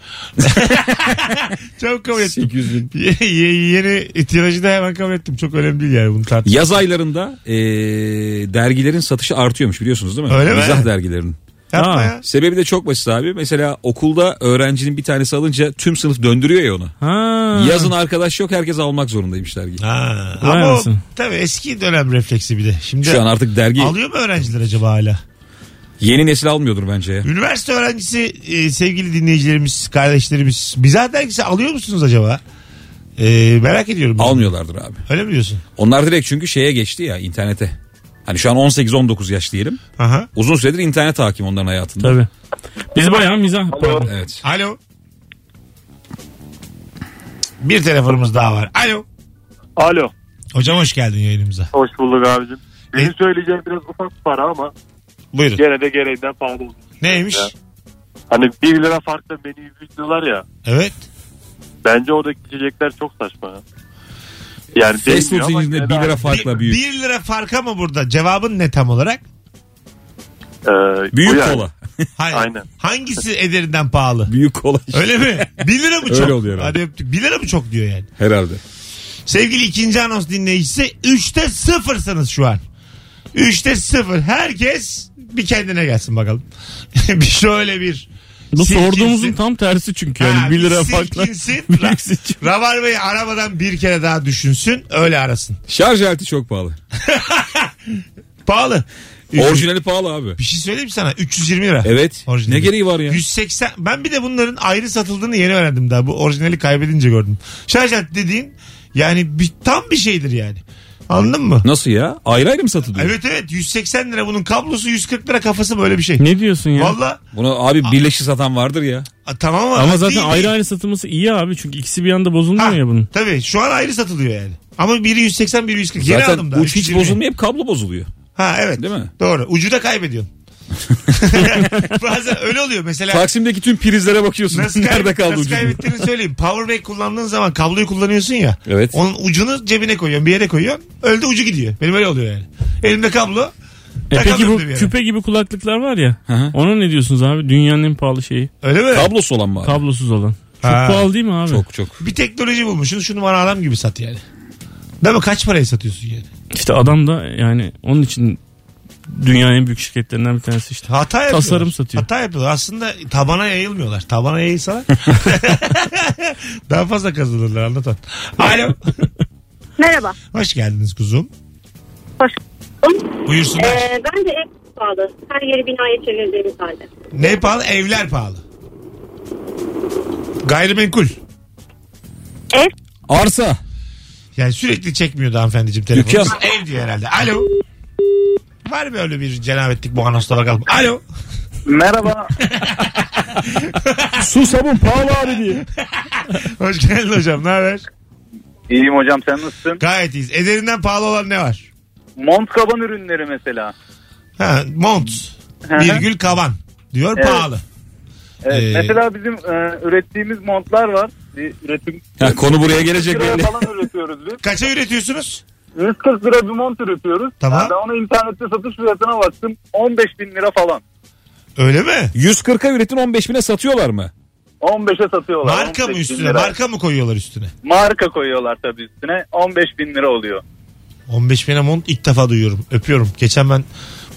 Speaker 2: Çok kabul ettim.
Speaker 3: 800 bin.
Speaker 2: Ye- ye- yeni tirajı da hemen kabul ettim. Çok önemli değil yani bunu tartış.
Speaker 3: Yaz aylarında ee, dergilerin satışı artıyormuş biliyorsunuz değil mi?
Speaker 2: Öyle mi?
Speaker 3: Mizah dergilerinin.
Speaker 2: Yapma
Speaker 4: Ha.
Speaker 2: ya.
Speaker 3: Sebebi de çok basit abi. Mesela okulda öğrencinin bir tanesi alınca tüm sınıf döndürüyor ya onu.
Speaker 4: Ha.
Speaker 3: Yazın arkadaş yok herkes almak zorundaymış dergi.
Speaker 2: Ha.
Speaker 4: Vay
Speaker 2: Ama o,
Speaker 4: anasını.
Speaker 2: tabii eski dönem refleksi bir de. Şimdi
Speaker 3: Şu an artık dergi
Speaker 2: alıyor mu öğrenciler acaba hala?
Speaker 3: yeni nesil almıyordur bence ya.
Speaker 2: Üniversite öğrencisi e, sevgili dinleyicilerimiz, kardeşlerimiz. Mizah dergisi alıyor musunuz acaba? E, merak ediyorum. bunu.
Speaker 3: Almıyorlardır abi.
Speaker 2: Öyle mi diyorsun?
Speaker 3: Onlar direkt çünkü şeye geçti ya internete. Hani şu an 18-19 yaş diyelim.
Speaker 2: Aha.
Speaker 3: Uzun süredir internet hakim onların hayatında.
Speaker 4: Tabii. Biz bayağı mizah.
Speaker 3: Evet.
Speaker 2: Alo. Bir telefonumuz daha var. Alo.
Speaker 8: alo
Speaker 2: Hocam hoş geldin yayınımıza.
Speaker 8: hoş bulduk abicim.
Speaker 2: Benim
Speaker 8: söyleyeceğim biraz ufak para ama
Speaker 2: Buyurun.
Speaker 8: gene de gereğinden pahalı oldu.
Speaker 2: Neymiş?
Speaker 8: Hani 1 lira farkla beni yüzüyorlar ya.
Speaker 2: Evet.
Speaker 8: Bence oradaki içecekler çok saçma. Yani
Speaker 2: şey
Speaker 3: Fast food zincirinde 1 lira
Speaker 2: Bir,
Speaker 3: farkla büyük.
Speaker 2: bir lira farka mı burada? Cevabın ne tam olarak?
Speaker 8: Ee,
Speaker 3: Büyük kola.
Speaker 2: Hayır.
Speaker 8: Aynen.
Speaker 2: Hangisi ederinden pahalı?
Speaker 3: Büyük kola.
Speaker 2: Öyle mi? 1 lira mı çok?
Speaker 3: Öyle oluyor abi.
Speaker 2: Hadi öptük. 1 lira mı çok diyor yani.
Speaker 3: Herhalde.
Speaker 2: Sevgili ikinci anons dinleyicisi 3'te sıfırsınız şu an. 3'te sıfır. Herkes bir kendine gelsin bakalım. bir şöyle bir
Speaker 4: Bu
Speaker 2: silkinsin.
Speaker 4: sorduğumuzun tam tersi çünkü
Speaker 2: Ha,
Speaker 4: yani 1 lira
Speaker 2: bir
Speaker 4: farkla.
Speaker 2: silkinsin.
Speaker 4: Büyük seçim.
Speaker 2: Rabarba'yı aramadan bir kere daha düşünsün. Öyle arasın.
Speaker 3: Şarj aleti çok pahalı.
Speaker 2: Pahalı.
Speaker 3: Orijinali pahalı abi.
Speaker 2: Bir şey söyleyeyim sana. 320 lira.
Speaker 3: Evet.
Speaker 2: Orijinali.
Speaker 3: Ne gereği var ya?
Speaker 2: 180 ben bir de bunların ayrı satıldığını yeni öğrendim daha bu orijinali kaybedince gördüm. Şarj aleti dediğin yani bir, tam bir şeydir yani. Anladın mı?
Speaker 3: Nasıl ya? Ayrı ayrı mı satılıyor?
Speaker 2: Evet evet 180 lira bunun kablosu 140 lira kafası böyle bir şey.
Speaker 4: Ne diyorsun ya?
Speaker 2: Valla
Speaker 3: Bunu abi birleşik satan vardır ya.
Speaker 2: a, tamam
Speaker 4: Ama zaten
Speaker 2: değil,
Speaker 4: ayrı
Speaker 2: değil.
Speaker 4: ayrı satılması iyi abi çünkü ikisi bir anda bozulmuyor
Speaker 2: Ha,
Speaker 4: ya bunun.
Speaker 2: Tabii şu an ayrı satılıyor yani. Ama biri 180 biri 140. Yeni
Speaker 3: Zaten
Speaker 2: aldım daha.
Speaker 3: uç hiç
Speaker 2: 320.
Speaker 3: bozulmuyor hep kablo bozuluyor.
Speaker 2: Ha evet.
Speaker 3: Değil mi?
Speaker 2: Doğru. Ucu da kaybediyorsun. Bazen öyle oluyor mesela.
Speaker 3: Taksim'deki tüm prizlere bakıyorsun.
Speaker 2: Nasıl, kay-
Speaker 3: Nerede kaldı
Speaker 2: nasıl
Speaker 3: ucuz?
Speaker 2: kaybettiğini söyleyeyim. Powerbank kullandığın zaman kabloyu kullanıyorsun ya.
Speaker 3: Evet.
Speaker 2: Onun ucunu cebine koyuyorsun bir yere koyuyorsun. Öyle de ucu gidiyor. Benim öyle oluyor yani. Elimde kablo.
Speaker 4: E peki bu
Speaker 2: takamıyorum bir yere.
Speaker 4: küpe gibi kulaklıklar var ya.
Speaker 3: hı.
Speaker 4: Ona ne diyorsunuz abi? Dünyanın en pahalı şeyi.
Speaker 2: Öyle mi?
Speaker 3: Kablosu olan mı? abi?
Speaker 4: Kablosuz olan. Çok
Speaker 2: Ha.
Speaker 4: pahalı değil mi abi?
Speaker 3: Çok çok.
Speaker 2: Bir teknoloji bulmuşsun. Şunu bana adam gibi sat yani. Değil mi? Kaç paraya satıyorsun yani?
Speaker 4: İşte adam da yani onun için dünyanın en büyük şirketlerinden bir tanesi işte.
Speaker 2: Hata yapıyorlar.
Speaker 4: Tasarım satıyor.
Speaker 2: Hata yapıyorlar. Aslında tabana yayılmıyorlar. Tabana yayılsalar daha fazla kazanırlar anlatan. Alo.
Speaker 9: Merhaba.
Speaker 2: Hoş geldiniz kuzum.
Speaker 9: Hoş bulduk.
Speaker 2: Buyursunlar.
Speaker 9: Ee, bence ev pahalı. Her yeri binaya çevirdiğimiz halde.
Speaker 2: Ne pahalı? Evler pahalı. Gayrimenkul.
Speaker 9: Ev
Speaker 3: Arsa.
Speaker 2: Yani sürekli çekmiyordu hanımefendiciğim telefonu.
Speaker 3: Dükkan.
Speaker 2: Ev diyor herhalde. Alo. Var mı öyle bir cenabetlik bu anonsla bakalım. Alo.
Speaker 8: Merhaba.
Speaker 4: Su sabun pahalı abi diye.
Speaker 2: Hoş geldin hocam. Ne haber?
Speaker 8: İyiyim hocam sen nasılsın?
Speaker 2: Gayet iyiyiz. Ederinden pahalı olan ne var?
Speaker 8: Mont kaban ürünleri mesela.
Speaker 2: Ha, mont.
Speaker 8: Hı hı.
Speaker 2: Virgül kavan. Diyor
Speaker 8: Evet.
Speaker 2: pahalı.
Speaker 8: Evet,
Speaker 2: Ee,
Speaker 8: Mesela bizim e, ürettiğimiz montlar var. Bir üretim
Speaker 3: Ha, konu buraya gelecek
Speaker 8: liraya
Speaker 3: belli.
Speaker 8: falan üretiyoruz biz.
Speaker 2: Kaça üretiyorsunuz?
Speaker 8: 140 lira bir mont üretiyoruz.
Speaker 2: Tamam.
Speaker 8: Ben onu internette satış fiyatına baktım. 15 bin lira falan.
Speaker 2: Öyle mi?
Speaker 3: 140'a üretin 15 bine satıyorlar mı?
Speaker 8: 15'e satıyorlar.
Speaker 2: Marka
Speaker 8: 18
Speaker 2: mı
Speaker 8: bin
Speaker 2: üstüne?
Speaker 8: lira.
Speaker 2: Marka mı koyuyorlar üstüne?
Speaker 8: Marka koyuyorlar tabii üstüne. 15 bin lira oluyor.
Speaker 2: 15 bine mont ilk defa duyuyorum. Öpüyorum. Geçen ben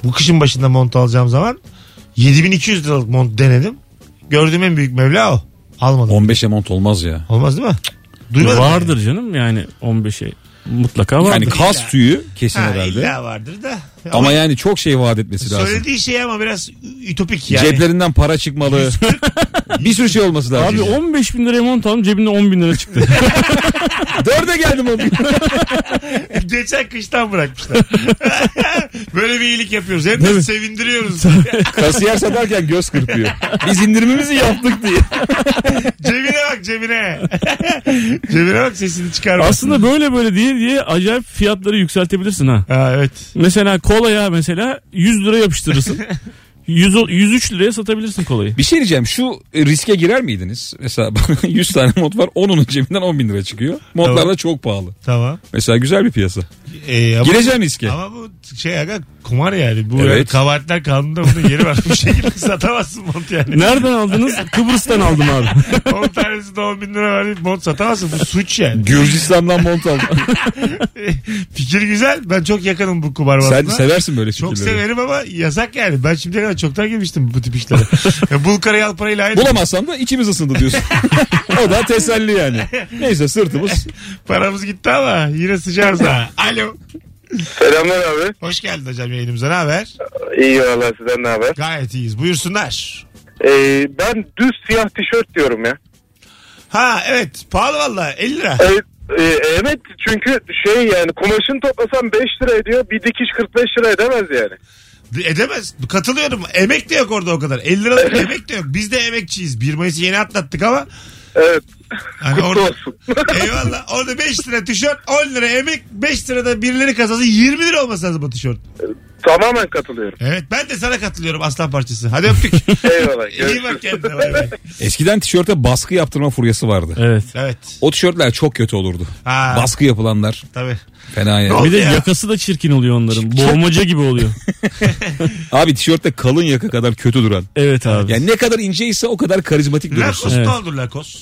Speaker 2: bu kışın başında mont alacağım zaman 7200 liralık mont denedim. Gördüğüm en büyük meblağ o. Almadım.
Speaker 3: 15'e mont olmaz ya.
Speaker 2: Olmaz değil mi? Duymadım.
Speaker 4: Vardır canım yani 15'e mutlaka vardır.
Speaker 3: Yani kas tüyü kesin
Speaker 2: Ha,
Speaker 3: herhalde.
Speaker 2: illa vardır da.
Speaker 3: Ama yani çok şey vaat etmesi lazım.
Speaker 2: Söylediği şey ama biraz ütopik yani.
Speaker 3: Ceplerinden para çıkmalı. bir sürü şey olması lazım.
Speaker 4: Abi 15 bin liraya mont aldım cebimde 10 bin lira çıktı.
Speaker 3: Dörde geldim o gün.
Speaker 2: Geçen kıştan bırakmışlar. Böyle bir iyilik yapıyoruz. Hem de sevindiriyoruz.
Speaker 3: Kasiyer satarken göz kırpıyor. Biz indirimimizi yaptık diye.
Speaker 2: cebine bak cebine. cebine bak sesini çıkarma.
Speaker 4: Aslında böyle böyle diye diye acayip fiyatları yükseltebilirsin ha.
Speaker 2: Ha, evet.
Speaker 4: Mesela kolaya mesela 100 lira yapıştırırsın. 100, o- 103 liraya satabilirsin kolayı.
Speaker 3: Bir şey diyeceğim şu e, riske girer miydiniz? Mesela 100 tane mod var 10'unun cebinden 10 bin lira çıkıyor. Modlar
Speaker 2: Tamam.
Speaker 3: da çok pahalı.
Speaker 2: Tamam.
Speaker 3: Mesela güzel bir piyasa.
Speaker 2: Ee, ama,
Speaker 3: Gireceğim riske.
Speaker 2: ama bu şey aga kumar yani. Bu
Speaker 3: Evet.
Speaker 2: yani kabahatler kanununda bunun yeri var. Bu şekilde satamazsın mont yani.
Speaker 4: Nereden aldınız? Kıbrıs'tan aldım abi.
Speaker 2: 10 tanesi de 10 bin lira verip mont satamazsın. Bu suç yani.
Speaker 3: Gürcistan'dan mont aldım.
Speaker 2: Fikir güzel. Ben çok yakınım bu kumarbazına.
Speaker 3: Sen seversin böyle
Speaker 2: Çok
Speaker 3: fikirleri.
Speaker 2: severim ama yasak yani. Ben şimdiye kadar çoktan girmiştim bu tip işlere. Ya Bul karayı al parayla aynı.
Speaker 3: Bulamazsam da içimiz ısındı diyorsun. o da teselli yani. Neyse sırtımız.
Speaker 2: Paramız gitti ama yine sıcağız ha. Alo.
Speaker 6: Selamlar abi.
Speaker 2: Hoş geldin hocam yayınımıza. Ne haber?
Speaker 6: İyi valla sizden ne haber?
Speaker 2: Gayet iyiyiz. Buyursunlar.
Speaker 6: Ee, ben düz siyah tişört diyorum ya.
Speaker 2: Ha evet. Pahalı valla. 50 lira.
Speaker 6: Evet, e, evet çünkü şey yani kumaşını toplasam 5 lira ediyor bir dikiş 45 lira edemez yani.
Speaker 2: Edemez. Katılıyorum. Emek de yok orada o kadar. 50 liralık emek de yok. Biz de emekçiyiz. 1 Mayıs'ı yeni atlattık ama.
Speaker 6: Evet
Speaker 2: Hani
Speaker 6: kutlu
Speaker 2: orada,
Speaker 6: olsun.
Speaker 2: eyvallah. Orada 5 lira tişört, 10 lira emek, 5 lirada birileri kazası 20 lira olması lazım bu tişört.
Speaker 6: Tamamen katılıyorum.
Speaker 2: Evet ben de sana katılıyorum aslan parçası. Hadi öptük.
Speaker 6: Eyvallah.
Speaker 2: İyi bak kendine. bay bay.
Speaker 3: Eskiden tişörte baskı yaptırma furyası vardı.
Speaker 4: Evet.
Speaker 2: Evet.
Speaker 3: O tişörtler çok kötü olurdu.
Speaker 2: Ha,
Speaker 3: Baskı yapılanlar
Speaker 2: tabii.
Speaker 3: fena yani.
Speaker 2: oldu
Speaker 4: Bir de
Speaker 2: ya?
Speaker 4: yakası da çirkin oluyor onların. Boğmaca gibi oluyor.
Speaker 3: Abi tişörtte kalın yaka kadar kötü duran.
Speaker 4: Evet abi.
Speaker 3: Yani ne kadar inceyse o kadar karizmatik durursun.
Speaker 2: Lakos
Speaker 4: Evet.
Speaker 2: ne olur Lakos?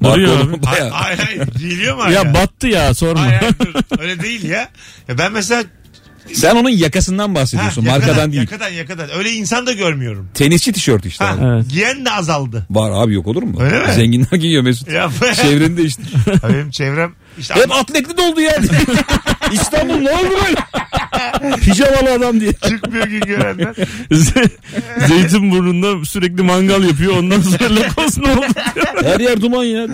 Speaker 3: Marka
Speaker 4: Duruyor
Speaker 3: oğlum,
Speaker 4: abi.
Speaker 2: Ay,
Speaker 3: bayağı.
Speaker 2: ay, ay, giyiliyor mu hala?
Speaker 4: ya battı ya sorma.
Speaker 2: Ay, ay, dur. Öyle değil ya. ya ben mesela
Speaker 3: Sen onun yakasından
Speaker 2: ha,
Speaker 3: bahsediyorsun.
Speaker 2: yakadan,
Speaker 3: markadan değil.
Speaker 2: yakadan yakadan. Öyle insan da görmüyorum.
Speaker 3: Tenisçi tişörtü işte.
Speaker 2: Ha,
Speaker 3: abi.
Speaker 4: Evet.
Speaker 2: Giyen de azaldı.
Speaker 3: Var abi yok olur mu?
Speaker 2: Öyle mi?
Speaker 3: Zenginler giyiyor Mesut.
Speaker 2: Ya,
Speaker 4: Şey-
Speaker 3: Çevreni değiştir.
Speaker 2: benim çevrem işte
Speaker 3: Hep atletli doldu yani. İstanbul ne oldu böyle? Pijamalı adam diye.
Speaker 2: çıkmıyor gün görenler.
Speaker 4: Ze- Zeytinburnu'nda sürekli mangal yapıyor. Ondan sonra lakos ne oldu?
Speaker 3: Her yer duman ya.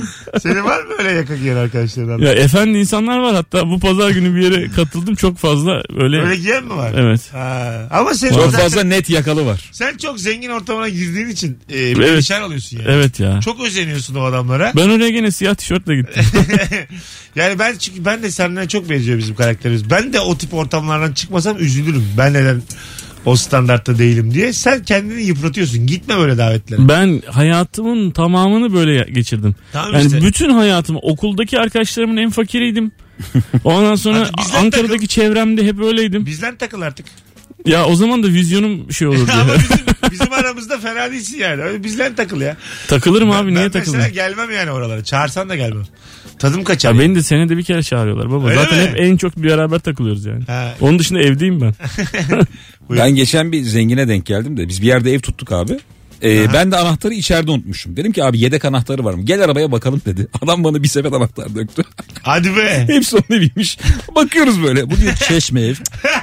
Speaker 2: Senin var mı öyle yaka giyen arkadaşların?
Speaker 4: ya efendi insanlar var hatta bu pazar günü bir yere katıldım çok fazla öyle.
Speaker 2: Öyle giyen mi var?
Speaker 4: Evet.
Speaker 2: Ha, ama sen
Speaker 3: Çok
Speaker 2: zaten-
Speaker 3: fazla net yakalı var.
Speaker 2: sen çok zengin ortamına girdiğin için e, perişan oluyorsun yani.
Speaker 4: Evet ya.
Speaker 2: Çok özeniyorsun o adamlara.
Speaker 4: Ben oraya gene siyah tişörtle gittim.
Speaker 2: yani ben çünkü ben de senden çok benziyor bizim karakterimiz. Ben de o tip ortamlardan çıkmasam üzülürüm. Ben neden o standartta değilim diye. Sen kendini yıpratıyorsun. Gitme böyle davetlere.
Speaker 4: ben hayatımın tamamını böyle ya- geçirdim.
Speaker 2: Tamam
Speaker 4: Yani
Speaker 2: işte.
Speaker 4: bütün hayatım okuldaki arkadaşlarımın en fakiriydim. Ondan sonra
Speaker 2: Hadi bizden
Speaker 4: Ankara'daki
Speaker 2: takıl.
Speaker 4: çevremde hep öyleydim.
Speaker 2: Bizden takıl artık.
Speaker 4: Ya o zaman da vizyonum şey olurdu.
Speaker 2: Ama bizim, bizim aramızda fena değilsin yani. Öyle bizden takıl ya.
Speaker 4: Takılırım
Speaker 2: Ben-
Speaker 4: abi
Speaker 2: ben
Speaker 4: niye
Speaker 2: mesela
Speaker 4: takılırım?
Speaker 2: gelmem yani oralara. Çağırsan da gelmem. Tadım kaçar.
Speaker 4: Ya beni de senede bir kere çağırıyorlar baba.
Speaker 2: Öyle
Speaker 4: Zaten
Speaker 2: mi?
Speaker 4: hep en çok beraber takılıyoruz yani.
Speaker 2: Ha.
Speaker 4: Onun dışında evdeyim ben.
Speaker 2: Buyurun.
Speaker 3: Ben geçen bir zengine denk geldim de biz bir yerde ev tuttuk abi. Ee, ben de anahtarı içeride unutmuşum. Dedim ki abi yedek anahtarı var mı? Gel arabaya bakalım dedi. Adam bana bir sepet anahtar döktü.
Speaker 2: Hadi be.
Speaker 3: Hepsi onun eviymiş. Bakıyoruz böyle. Bu diyor çeşme ev.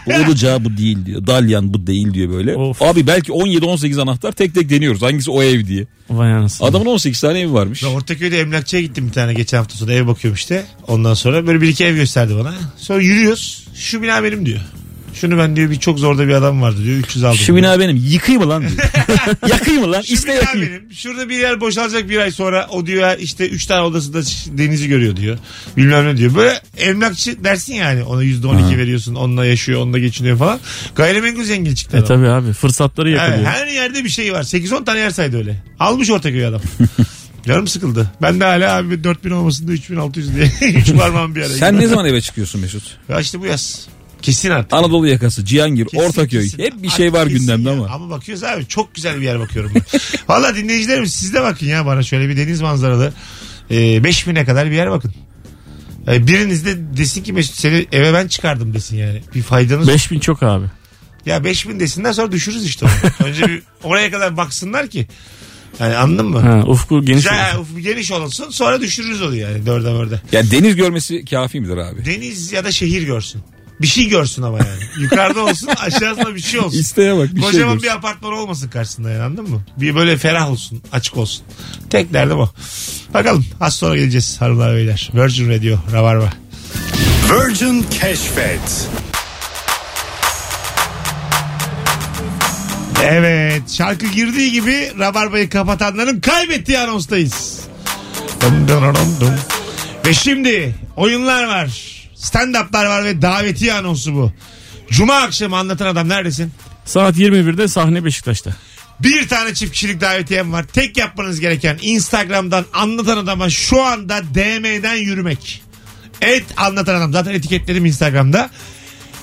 Speaker 3: Bu olacağı bu değil diyor. Dalyan bu değil diyor böyle.
Speaker 4: Of.
Speaker 3: Abi belki 17-18 anahtar tek tek deniyoruz. Hangisi o ev diye.
Speaker 4: Vay anasını.
Speaker 3: Adamın 18 tane evi varmış.
Speaker 2: Ben Ortaköy'de emlakçıya gittim bir tane geçen hafta sonu ev bakıyorum işte. Ondan sonra böyle bir iki ev gösterdi bana. Sonra yürüyoruz. Şu bina benim diyor. Şunu ben diyor bir çok zorda bir adam vardı diyor. 300 aldım.
Speaker 3: Şu
Speaker 2: diyor.
Speaker 3: bina benim. Yıkayım mı lan diyor. yakayım mı lan?
Speaker 2: Şu
Speaker 3: İste
Speaker 2: bina
Speaker 3: yakayım.
Speaker 2: benim. Şurada bir yer boşalacak bir ay sonra o diyor işte 3 tane odasında ş- denizi görüyor diyor. Bilmem ne diyor. Böyle emlakçı dersin yani ona %12 veriyorsun. Onunla yaşıyor, onunla geçiniyor falan. Gayrimenkul zengin çıktı
Speaker 4: E
Speaker 2: adam.
Speaker 4: tabi abi fırsatları
Speaker 2: Evet,
Speaker 4: yakalıyor.
Speaker 2: her yerde bir şey var. 8-10 tane yer saydı öyle. Almış Ortaköy adam. Canım sıkıldı. Ben de hala abi 4000 olmasın da 3600 diye. Üç parmağım bir araya.
Speaker 3: Sen ne zaman eve çıkıyorsun Mesut?
Speaker 2: Ya işte bu yaz. Kesin artık.
Speaker 3: Anadolu yakası, Cihangir,
Speaker 2: Kesin,
Speaker 3: Ortaköy.
Speaker 2: kesin.
Speaker 3: Hep bir şey var
Speaker 2: Artık kesin
Speaker 3: gündemde
Speaker 2: ya.
Speaker 3: ama.
Speaker 2: Ama bakıyoruz abi çok güzel bir yer bakıyorum. ben. Valla dinleyicilerim siz de bakın ya bana şöyle bir deniz manzaralı. E, 5000'e kadar bir yer bakın. E, biriniz de desin ki Mesut seni eve ben çıkardım desin yani. Bir faydanız
Speaker 4: 5000 çok abi.
Speaker 2: Ya 5000 desinler sonra düşürürüz işte onu. Önce bir oraya kadar baksınlar ki. Yani anladın mı?
Speaker 4: Ha, ufku geniş.
Speaker 2: Güzel, uf- geniş olsun sonra düşürürüz onu yani dörde mörde.
Speaker 3: Ya deniz görmesi kafi midir abi?
Speaker 2: Deniz ya da şehir görsün. Bir şey görsün ama yani. Yukarıda olsun aşağısında bir şey olsun.
Speaker 3: İsteğe bak. Bir şey
Speaker 2: Kocaman
Speaker 3: diyorsun.
Speaker 2: bir apartman olmasın karşısında yani anladın mı? Bir böyle ferah olsun, açık olsun. Tek derdim o. Bakalım az sonra geleceğiz hanımlar beyler. Virgin Radio, Rabarba.
Speaker 1: Virgin Keşfet.
Speaker 2: Evet şarkı girdiği gibi Rabarba'yı kapatanların kaybettiği anonstayız. Dum dum dum dum. Ve şimdi oyunlar var. Stand-up'lar var ve davetiye anonsu bu. Cuma akşamı anlatan adam neredesin?
Speaker 4: Saat 21'de sahne Beşiktaş'ta.
Speaker 2: Bir tane çift kişilik davetiyem var. Tek yapmanız gereken Instagram'dan anlatan adama şu anda DM'den yürümek. Et anlatan adam. Zaten etiketlerim Instagram'da.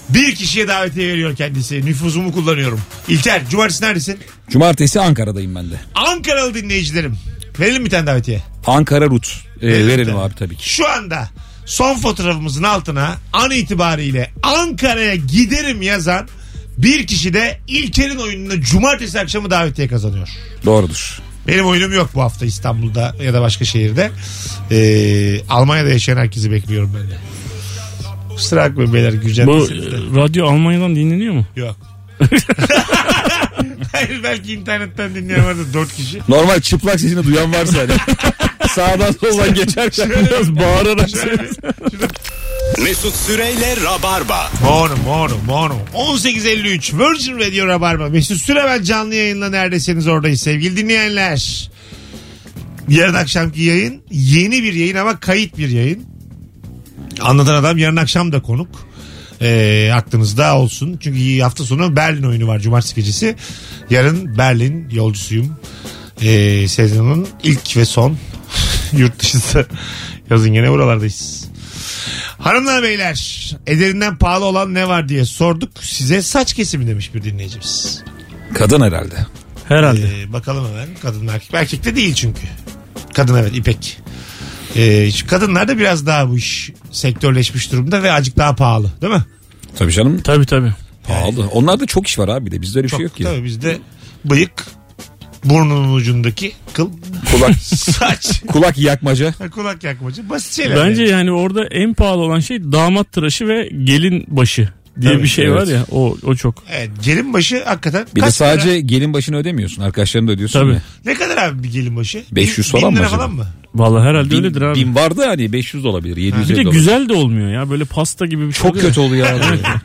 Speaker 2: Bir kişiye davetiye veriyor kendisi. Nüfuzumu kullanıyorum. İlker, cumartesi neredesin?
Speaker 3: Cumartesi Ankara'dayım ben de.
Speaker 2: Ankaralı dinleyicilerim. Verelim bir tane davetiye.
Speaker 3: Ankara Rut. Ee,
Speaker 2: Verelim
Speaker 3: verelim
Speaker 2: de.
Speaker 3: abi tabii ki.
Speaker 2: Şu anda son fotoğrafımızın altına an itibariyle Ankara'ya giderim yazan bir kişi de İlker'in oyununa cumartesi akşamı davetiye kazanıyor.
Speaker 3: Doğrudur.
Speaker 2: Benim oyunum yok bu hafta İstanbul'da ya da başka şehirde. Ee, Almanya'da yaşayan herkesi bekliyorum ben de. Kusura bakmayın beyler Gürcan.
Speaker 4: Bu
Speaker 2: deseniz de.
Speaker 4: e, radyo Almanya'dan dinleniyor mu?
Speaker 2: Yok. Hayır belki internetten dinleyen vardır dört kişi.
Speaker 3: Normal çıplak sesini duyan varsa hani. Sağdan soldan geçerken biraz bağırarak söyle.
Speaker 1: Mesut Süreyle Rabarba.
Speaker 2: Mono mono mono. 18.53 Virgin Radio Rabarba. Mesut Süremen canlı yayınla neredesiniz oradayız sevgili dinleyenler. Yarın akşamki yayın yeni bir yayın ama kayıt bir yayın. Anlatan adam yarın akşam da konuk. Ee, aklınızda olsun. Çünkü hafta sonu Berlin oyunu var cumartesi gecesi. Yarın Berlin yolcusuyum. Ee, sezonun ilk ve son yurt dışında yazın yine buralardayız. Hanımlar beyler ederinden pahalı olan ne var diye sorduk. Size saç kesimi demiş bir dinleyicimiz.
Speaker 3: Kadın herhalde.
Speaker 4: Herhalde.
Speaker 2: Ee, bakalım hemen kadın mı erkek. mi? Erkek de değil çünkü. Kadın evet ipek. Ee, şu kadınlar da biraz daha bu iş sektörleşmiş durumda ve acık daha pahalı değil mi?
Speaker 3: Tabii canım
Speaker 4: Tabii tabii.
Speaker 3: pahalı. Onlarda çok iş var abi bir de bizde öyle bir şey yok ki.
Speaker 2: Tabii bizde bıyık burnunun ucundaki kıl
Speaker 3: Kulak
Speaker 2: saç
Speaker 3: kulak yakmaca.
Speaker 2: kulak yakmacı basit şeyler.
Speaker 4: Bence
Speaker 2: yani.
Speaker 4: yani orada en pahalı olan şey damat tıraşı ve gelin başı diye
Speaker 2: Tabii,
Speaker 4: bir şey
Speaker 3: evet.
Speaker 4: var ya o o çok.
Speaker 2: Evet, gelin başı hakikaten
Speaker 3: Bir
Speaker 2: kaç
Speaker 3: de
Speaker 2: lira?
Speaker 3: sadece gelin başını ödemiyorsun. Arkadaşlarını da ödüyorsun.
Speaker 4: Tabii.
Speaker 3: ya.
Speaker 2: ne kadar abi bir gelin başı?
Speaker 3: 500
Speaker 2: Bin-
Speaker 3: falan
Speaker 2: bin
Speaker 3: mı
Speaker 2: lira
Speaker 3: acaba?
Speaker 2: falan mı?
Speaker 4: Vallahi herhalde
Speaker 3: Bin,
Speaker 4: öyledir abi.
Speaker 3: bin vardı yani 500 de olabilir 700
Speaker 4: bir de
Speaker 3: de olabilir.
Speaker 4: güzel de olmuyor ya böyle pasta gibi bir şey.
Speaker 3: Çok
Speaker 4: oluyor.
Speaker 3: kötü oluyor abi.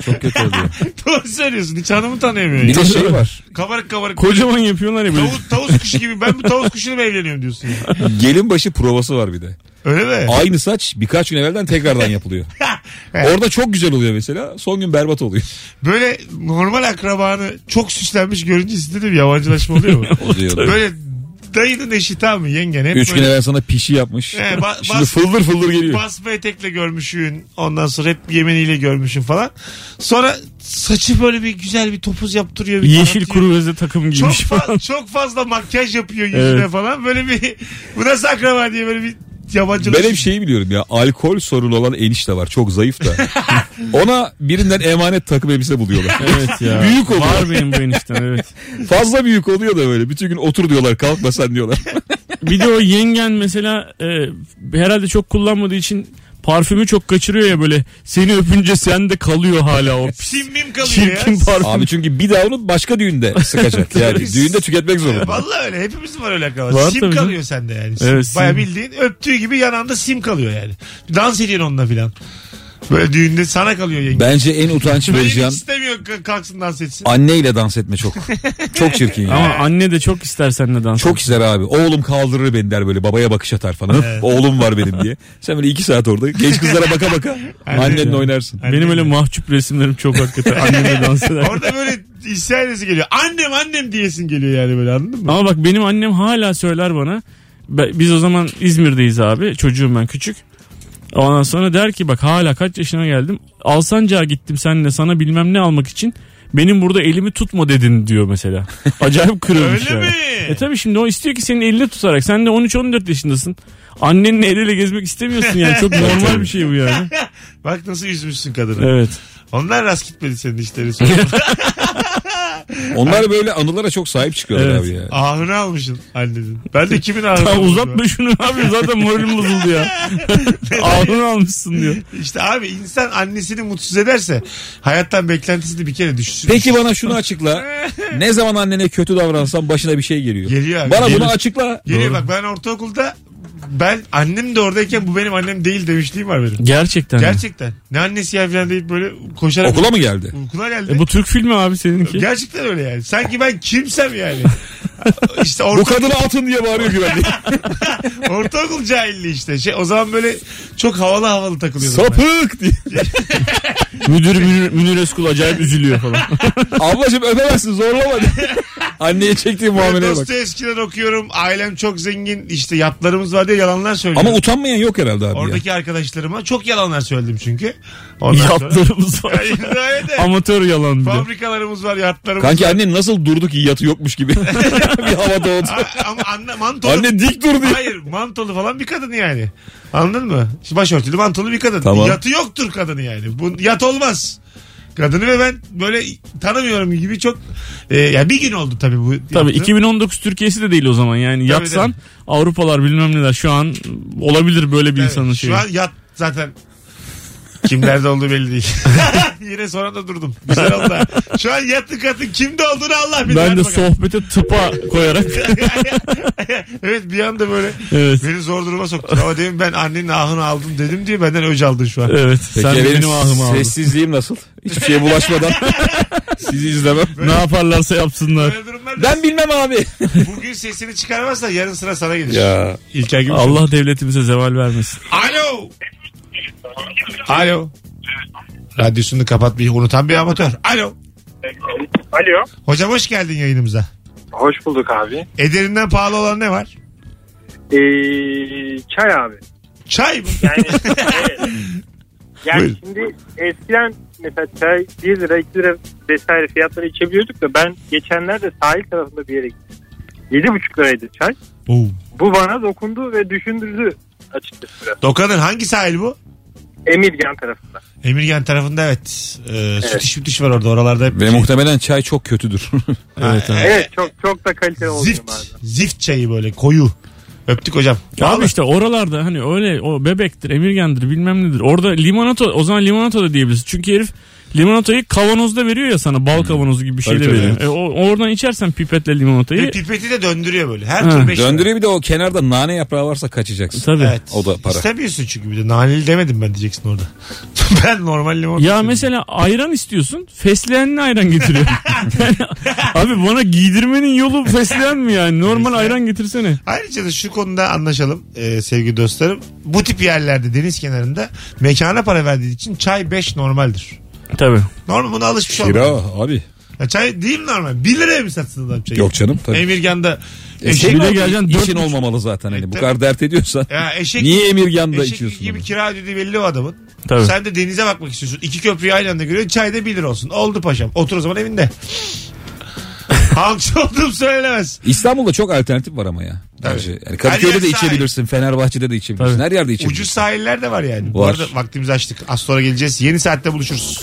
Speaker 3: çok kötü oluyor.
Speaker 2: Doğru söylüyorsun. Hiç hanımı tanıyamıyor.
Speaker 3: Bir
Speaker 2: ya.
Speaker 3: de şey var.
Speaker 2: Kabarık kabarık.
Speaker 4: Kocaman yapıyorlar ya böyle.
Speaker 2: Tavus, tavus kuşu gibi. Ben bu tavus kuşuyla mı evleniyorum diyorsun ya.
Speaker 3: Gelin başı provası var bir de.
Speaker 2: Öyle mi?
Speaker 3: Aynı saç birkaç gün evvelden tekrardan yapılıyor.
Speaker 2: Evet.
Speaker 3: Orada çok güzel oluyor mesela. Son gün berbat oluyor.
Speaker 2: Böyle normal akrabanı çok süslenmiş görünce istedim yabancılaşma oluyor mu?
Speaker 3: Oluyor.
Speaker 2: Böyle dayının eşi tamam mı yengen? Hep
Speaker 3: Üç gün
Speaker 2: böyle
Speaker 3: evvel sana pişi yapmış.
Speaker 2: He, ba-
Speaker 3: Şimdi
Speaker 2: bas-
Speaker 3: fıldır fıldır geliyor.
Speaker 2: basma etekle görmüşün. Ondan sonra hep yemeniyle görmüşün falan. Sonra saçı böyle bir güzel bir topuz yaptırıyor. Bir
Speaker 4: Yeşil
Speaker 2: taratıyor.
Speaker 4: kuru veze takım
Speaker 2: çok,
Speaker 4: giymiş falan.
Speaker 2: fa- çok fazla makyaj yapıyor yüzüne
Speaker 4: Evet.
Speaker 2: falan. Böyle bir bu nasıl akraba diye böyle bir
Speaker 3: Ben
Speaker 2: yabancılaşma.
Speaker 3: hep şeyi biliyorum ya alkol sorunu olan enişte var çok zayıf da. Ona birinden emanet takım elbise buluyorlar.
Speaker 4: Evet ya.
Speaker 3: Büyük oluyor.
Speaker 4: Var benim bu enişten evet.
Speaker 3: Fazla büyük oluyor da böyle. Bütün gün otur diyorlar kalkma sen diyorlar.
Speaker 4: Bir de o yengen mesela e, herhalde çok kullanmadığı için parfümü çok kaçırıyor ya böyle. Seni öpünce sende kalıyor hala o pis
Speaker 2: Simmim kalıyor ya.
Speaker 4: çirkin parfüm.
Speaker 3: Şey Abi çünkü bir daha onu başka düğünde sıkacak. Yani düğünde tüketmek zorunda.
Speaker 2: Vallahi öyle hepimizin var öyle akraba.
Speaker 4: Var
Speaker 2: sim
Speaker 4: tabii
Speaker 2: kalıyor sende yani. Sim.
Speaker 4: Evet, sim.
Speaker 2: Bayağı bildiğin öptüğü gibi yanında sim kalıyor yani. Dans ediyorsun onunla filan. Böyle düğünde sana kalıyor yenge.
Speaker 3: Bence en utanç
Speaker 2: Böyle hiç
Speaker 3: vereceğim
Speaker 2: istemiyor k- kalksın dans etsin.
Speaker 3: anneyle dans etme çok. Çok çirkin ya.
Speaker 4: Ama anne de çok ister seninle dans.
Speaker 3: Çok ister abi. Oğlum kaldırır beni der böyle babaya bakış atar falan. Oğlum var benim diye. Sen böyle iki saat orada genç kızlara baka baka annenle oynarsın.
Speaker 4: Benim öyle mahcup resimlerim çok hakikaten annemle dans eder.
Speaker 2: Orada böyle isyan edesi geliyor. Annem annem diyesin geliyor yani böyle anladın mı?
Speaker 4: Ama bak benim annem hala söyler bana. Be- Biz o zaman İzmir'deyiz abi. Çocuğum ben küçük. Ondan sonra der ki bak hala kaç yaşına geldim. Alsancak'a gittim seninle sana bilmem ne almak için. Benim burada elimi tutma dedin diyor mesela. Acayip kırılmış
Speaker 2: Öyle
Speaker 4: yani.
Speaker 2: mi?
Speaker 4: E tabi şimdi o istiyor ki senin elini tutarak. Sen de 13-14 yaşındasın. Annenle el ele gezmek istemiyorsun yani. Çok normal bir şey bu yani.
Speaker 2: Bak nasıl üzmüşsün kadını.
Speaker 4: Evet.
Speaker 2: Onlar rast gitmedi senin işleri.
Speaker 3: Onlar böyle anılara çok sahip çıkıyorlar
Speaker 4: Evet.
Speaker 3: abi ya.
Speaker 2: Ahını almışsın annenin. Ben de kimin ahını
Speaker 4: Ya
Speaker 2: almışım
Speaker 4: uzatma şunu abi zaten moralim bozuldu ya. Ağzını almışsın diyor.
Speaker 2: ben? İşte abi insan annesini mutsuz ederse hayattan beklentisini bir kere düşsün.
Speaker 3: Peki bana şunu açıkla. Ne zaman annene kötü davransan başına bir şey geliyor.
Speaker 2: Geliyor abi.
Speaker 3: Bana bunu
Speaker 2: Geliyor.
Speaker 3: açıkla.
Speaker 2: Geliyor
Speaker 4: Doğru.
Speaker 2: bak ben ortaokulda ben annem de oradayken bu benim annem değil demişliğim var benim.
Speaker 4: Gerçekten. mi?
Speaker 2: Gerçekten. Ne annesi ya falan deyip böyle koşarak
Speaker 3: Okula mı geldi?
Speaker 2: okula geldi.
Speaker 4: E bu Türk filmi abi seninki.
Speaker 2: Gerçekten öyle yani. Sanki ben kimsem yani. işte
Speaker 3: Bu
Speaker 2: orta,
Speaker 3: kadını atın diye bağırıyor güvenlik.
Speaker 2: ortaokul cahilliği işte. Şey, o zaman böyle çok havalı havalı takılıyordum. ben.
Speaker 3: Sapık diye.
Speaker 4: Müdür Münir, Münir Özkul acayip üzülüyor falan.
Speaker 3: Ablacığım öpemezsin zorlama. diye. Anneye çektiği muameleye bak.
Speaker 2: Dostoyevski'den okuyorum. Ailem çok zengin. İşte yatlarımız var diye yalanlar söylüyorum.
Speaker 3: Ama utanmayan yok herhalde abi ya.
Speaker 2: Oradaki arkadaşlarıma çok yalanlar söyledim çünkü. Ondan sonra-
Speaker 4: Yatlarımız var.
Speaker 2: Öyle de.
Speaker 4: Amatör yalan bir de.
Speaker 2: Fabrikalarımız var, yatlarımız
Speaker 3: Kanki
Speaker 2: var.
Speaker 3: annen nasıl durdu ki yatı yokmuş gibi. bir hava doğdu.
Speaker 2: A- Ama anne, mantolu.
Speaker 3: Anne dik dur diye.
Speaker 2: Hayır mantolu falan bir kadın yani. Anladın mı? Şimdi Başörtülü mantolu bir kadın.
Speaker 3: Tamam.
Speaker 2: Yatı yoktur kadını yani. Bu, yat olmaz. Kadını ve ben böyle tanımıyorum gibi çok... E, ya bir gün oldu tabii bu.
Speaker 4: Tabii
Speaker 2: yaptığım.
Speaker 4: 2019 Türkiye'si de değil o zaman yani
Speaker 2: Tabii,
Speaker 4: yatsan Avrupalar bilmem neler şu an olabilir böyle bir
Speaker 2: Evet,
Speaker 4: insanın şeyi.
Speaker 2: Şu an yat zaten kimlerde olduğu belli değil. Yine sonra da durdum. Güzel oldu. ha. Şu an yatlı kadın kimde olduğunu Allah bilir.
Speaker 4: Ben
Speaker 2: Hadi
Speaker 4: de
Speaker 2: bakalım.
Speaker 4: sohbete tıpa koyarak
Speaker 2: evet bir anda böyle
Speaker 4: evet.
Speaker 2: beni zor duruma soktun. Ama demin ben annenin ahını aldım dedim diye benden öc aldın şu an.
Speaker 4: Evet. sen de benim ahımı aldın.
Speaker 3: sessizliğim nasıl? Hiçbir şeye bulaşmadan sizi izlemem.
Speaker 4: Ne yaparlarsa yapsınlar.
Speaker 2: Böyle durumlarda
Speaker 3: Ben bilmem abi.
Speaker 2: bugün sesini çıkarmazsan yarın sıra sana gelir.
Speaker 3: Ya.
Speaker 2: İlker Gümüşoluk.
Speaker 4: Allah devletimize zeval vermesin.
Speaker 2: Alo. Alo. Radyosunu kapatmayı unutan bir amatör. Alo.
Speaker 6: Alo.
Speaker 2: Hocam hoş geldin yayınımıza.
Speaker 8: Hoş bulduk abi.
Speaker 2: Ederinden pahalı olan ne var?
Speaker 8: Ee, çay abi.
Speaker 2: Çay mı?
Speaker 8: Yani, yani
Speaker 2: Buyurun.
Speaker 8: şimdi eskiden mesela çay 1 lira 2 lira vesaire fiyatları içebiliyorduk da ben geçenlerde sahil tarafında bir yere gittim. 7,5 liraydı çay.
Speaker 2: Oo.
Speaker 8: Bu bana dokundu ve düşündürdü açıkçası biraz.
Speaker 2: Dokanın hangi sahil bu?
Speaker 8: Emirgan tarafında.
Speaker 2: Emirgan tarafında evet. Ee, Sütüş mütüş var orada oralarda hep.
Speaker 3: Ve muhtemelen çay çok kötüdür.
Speaker 4: Evet abi.
Speaker 8: Evet çok çok da kaliteli oluyor
Speaker 2: e, Zift.
Speaker 8: bazen.
Speaker 2: Zift çayı böyle koyu. Öptük hocam.
Speaker 4: Abi
Speaker 2: Vallahi.
Speaker 4: işte oralarda hani öyle o bebektir, emirgendir bilmem nedir. Orada limonata o zaman limonata da diyebilirsin. Çünkü herif limonatayı kavanozda veriyor ya sana bal kavanozu gibi bir şey
Speaker 3: Tabii,
Speaker 4: de
Speaker 3: tabii,
Speaker 4: veriyor.
Speaker 3: evet.
Speaker 4: E, o- oradan içersen pipetle limonatayı.
Speaker 2: Ve pipeti de döndürüyor böyle. Her
Speaker 4: şey- Ha.
Speaker 2: tür beş lira.
Speaker 3: Döndürüyor bir de o kenarda nane yaprağı varsa kaçacaksın.
Speaker 4: Tabii.
Speaker 2: Evet.
Speaker 3: O da para.
Speaker 2: İstemiyorsun çünkü bir de naneli demedim ben diyeceksin orada. ben normal limon.
Speaker 4: Ya mesela ayran istiyorsun. Fesleğenli ayran getiriyor. Yani abi bana giydirmenin yolu fesleğen mi yani? Normal ayran getirsene.
Speaker 2: Ayrıca da şu konuda anlaşalım e, sevgili dostlarım. Bu tip yerlerde deniz kenarında mekana para verdiği için çay 5 normaldir.
Speaker 4: Tabii.
Speaker 2: Normal buna alışmış
Speaker 3: Kira
Speaker 2: olmalı.
Speaker 3: abi.
Speaker 2: Ya çay değil mi normal? 1 liraya mı satsın adam çayı?
Speaker 3: Yok canım tabii.
Speaker 2: Emirgan'da
Speaker 3: E, şey
Speaker 2: eşek,
Speaker 4: bir de
Speaker 3: abi,
Speaker 4: geleceksin dört
Speaker 3: işin
Speaker 4: buçuk-
Speaker 3: olmamalı zaten
Speaker 2: E,
Speaker 3: hani bu
Speaker 2: tabii.
Speaker 3: kadar dert ediyorsan.
Speaker 2: ya eşek,
Speaker 3: Niye Emirgan'da
Speaker 2: eşek
Speaker 3: içiyorsun?
Speaker 2: gibi
Speaker 3: onu?
Speaker 2: kira ödediği belli o adamın.
Speaker 4: Tabii.
Speaker 2: Sen de denize bakmak istiyorsun. İki köprüyü aynı anda görüyorsun. Çay da 1 lira olsun. Oldu paşam. Otur o zaman evinde. Halkçı olduğum söylenemez.
Speaker 3: İstanbul'da çok alternatif var ama ya. Bence. Yani Kadıköy'de
Speaker 2: Her
Speaker 3: de
Speaker 2: yer sahil.
Speaker 3: içebilirsin, Fenerbahçe'de de içebilirsin.
Speaker 4: Tabii.
Speaker 3: Her yerde içebilirsin.
Speaker 2: Ucuz sahiller de var yani. Bu
Speaker 3: Var.
Speaker 2: arada vaktimizi açtık. Az sonra geleceğiz. Yeni saatte buluşuruz.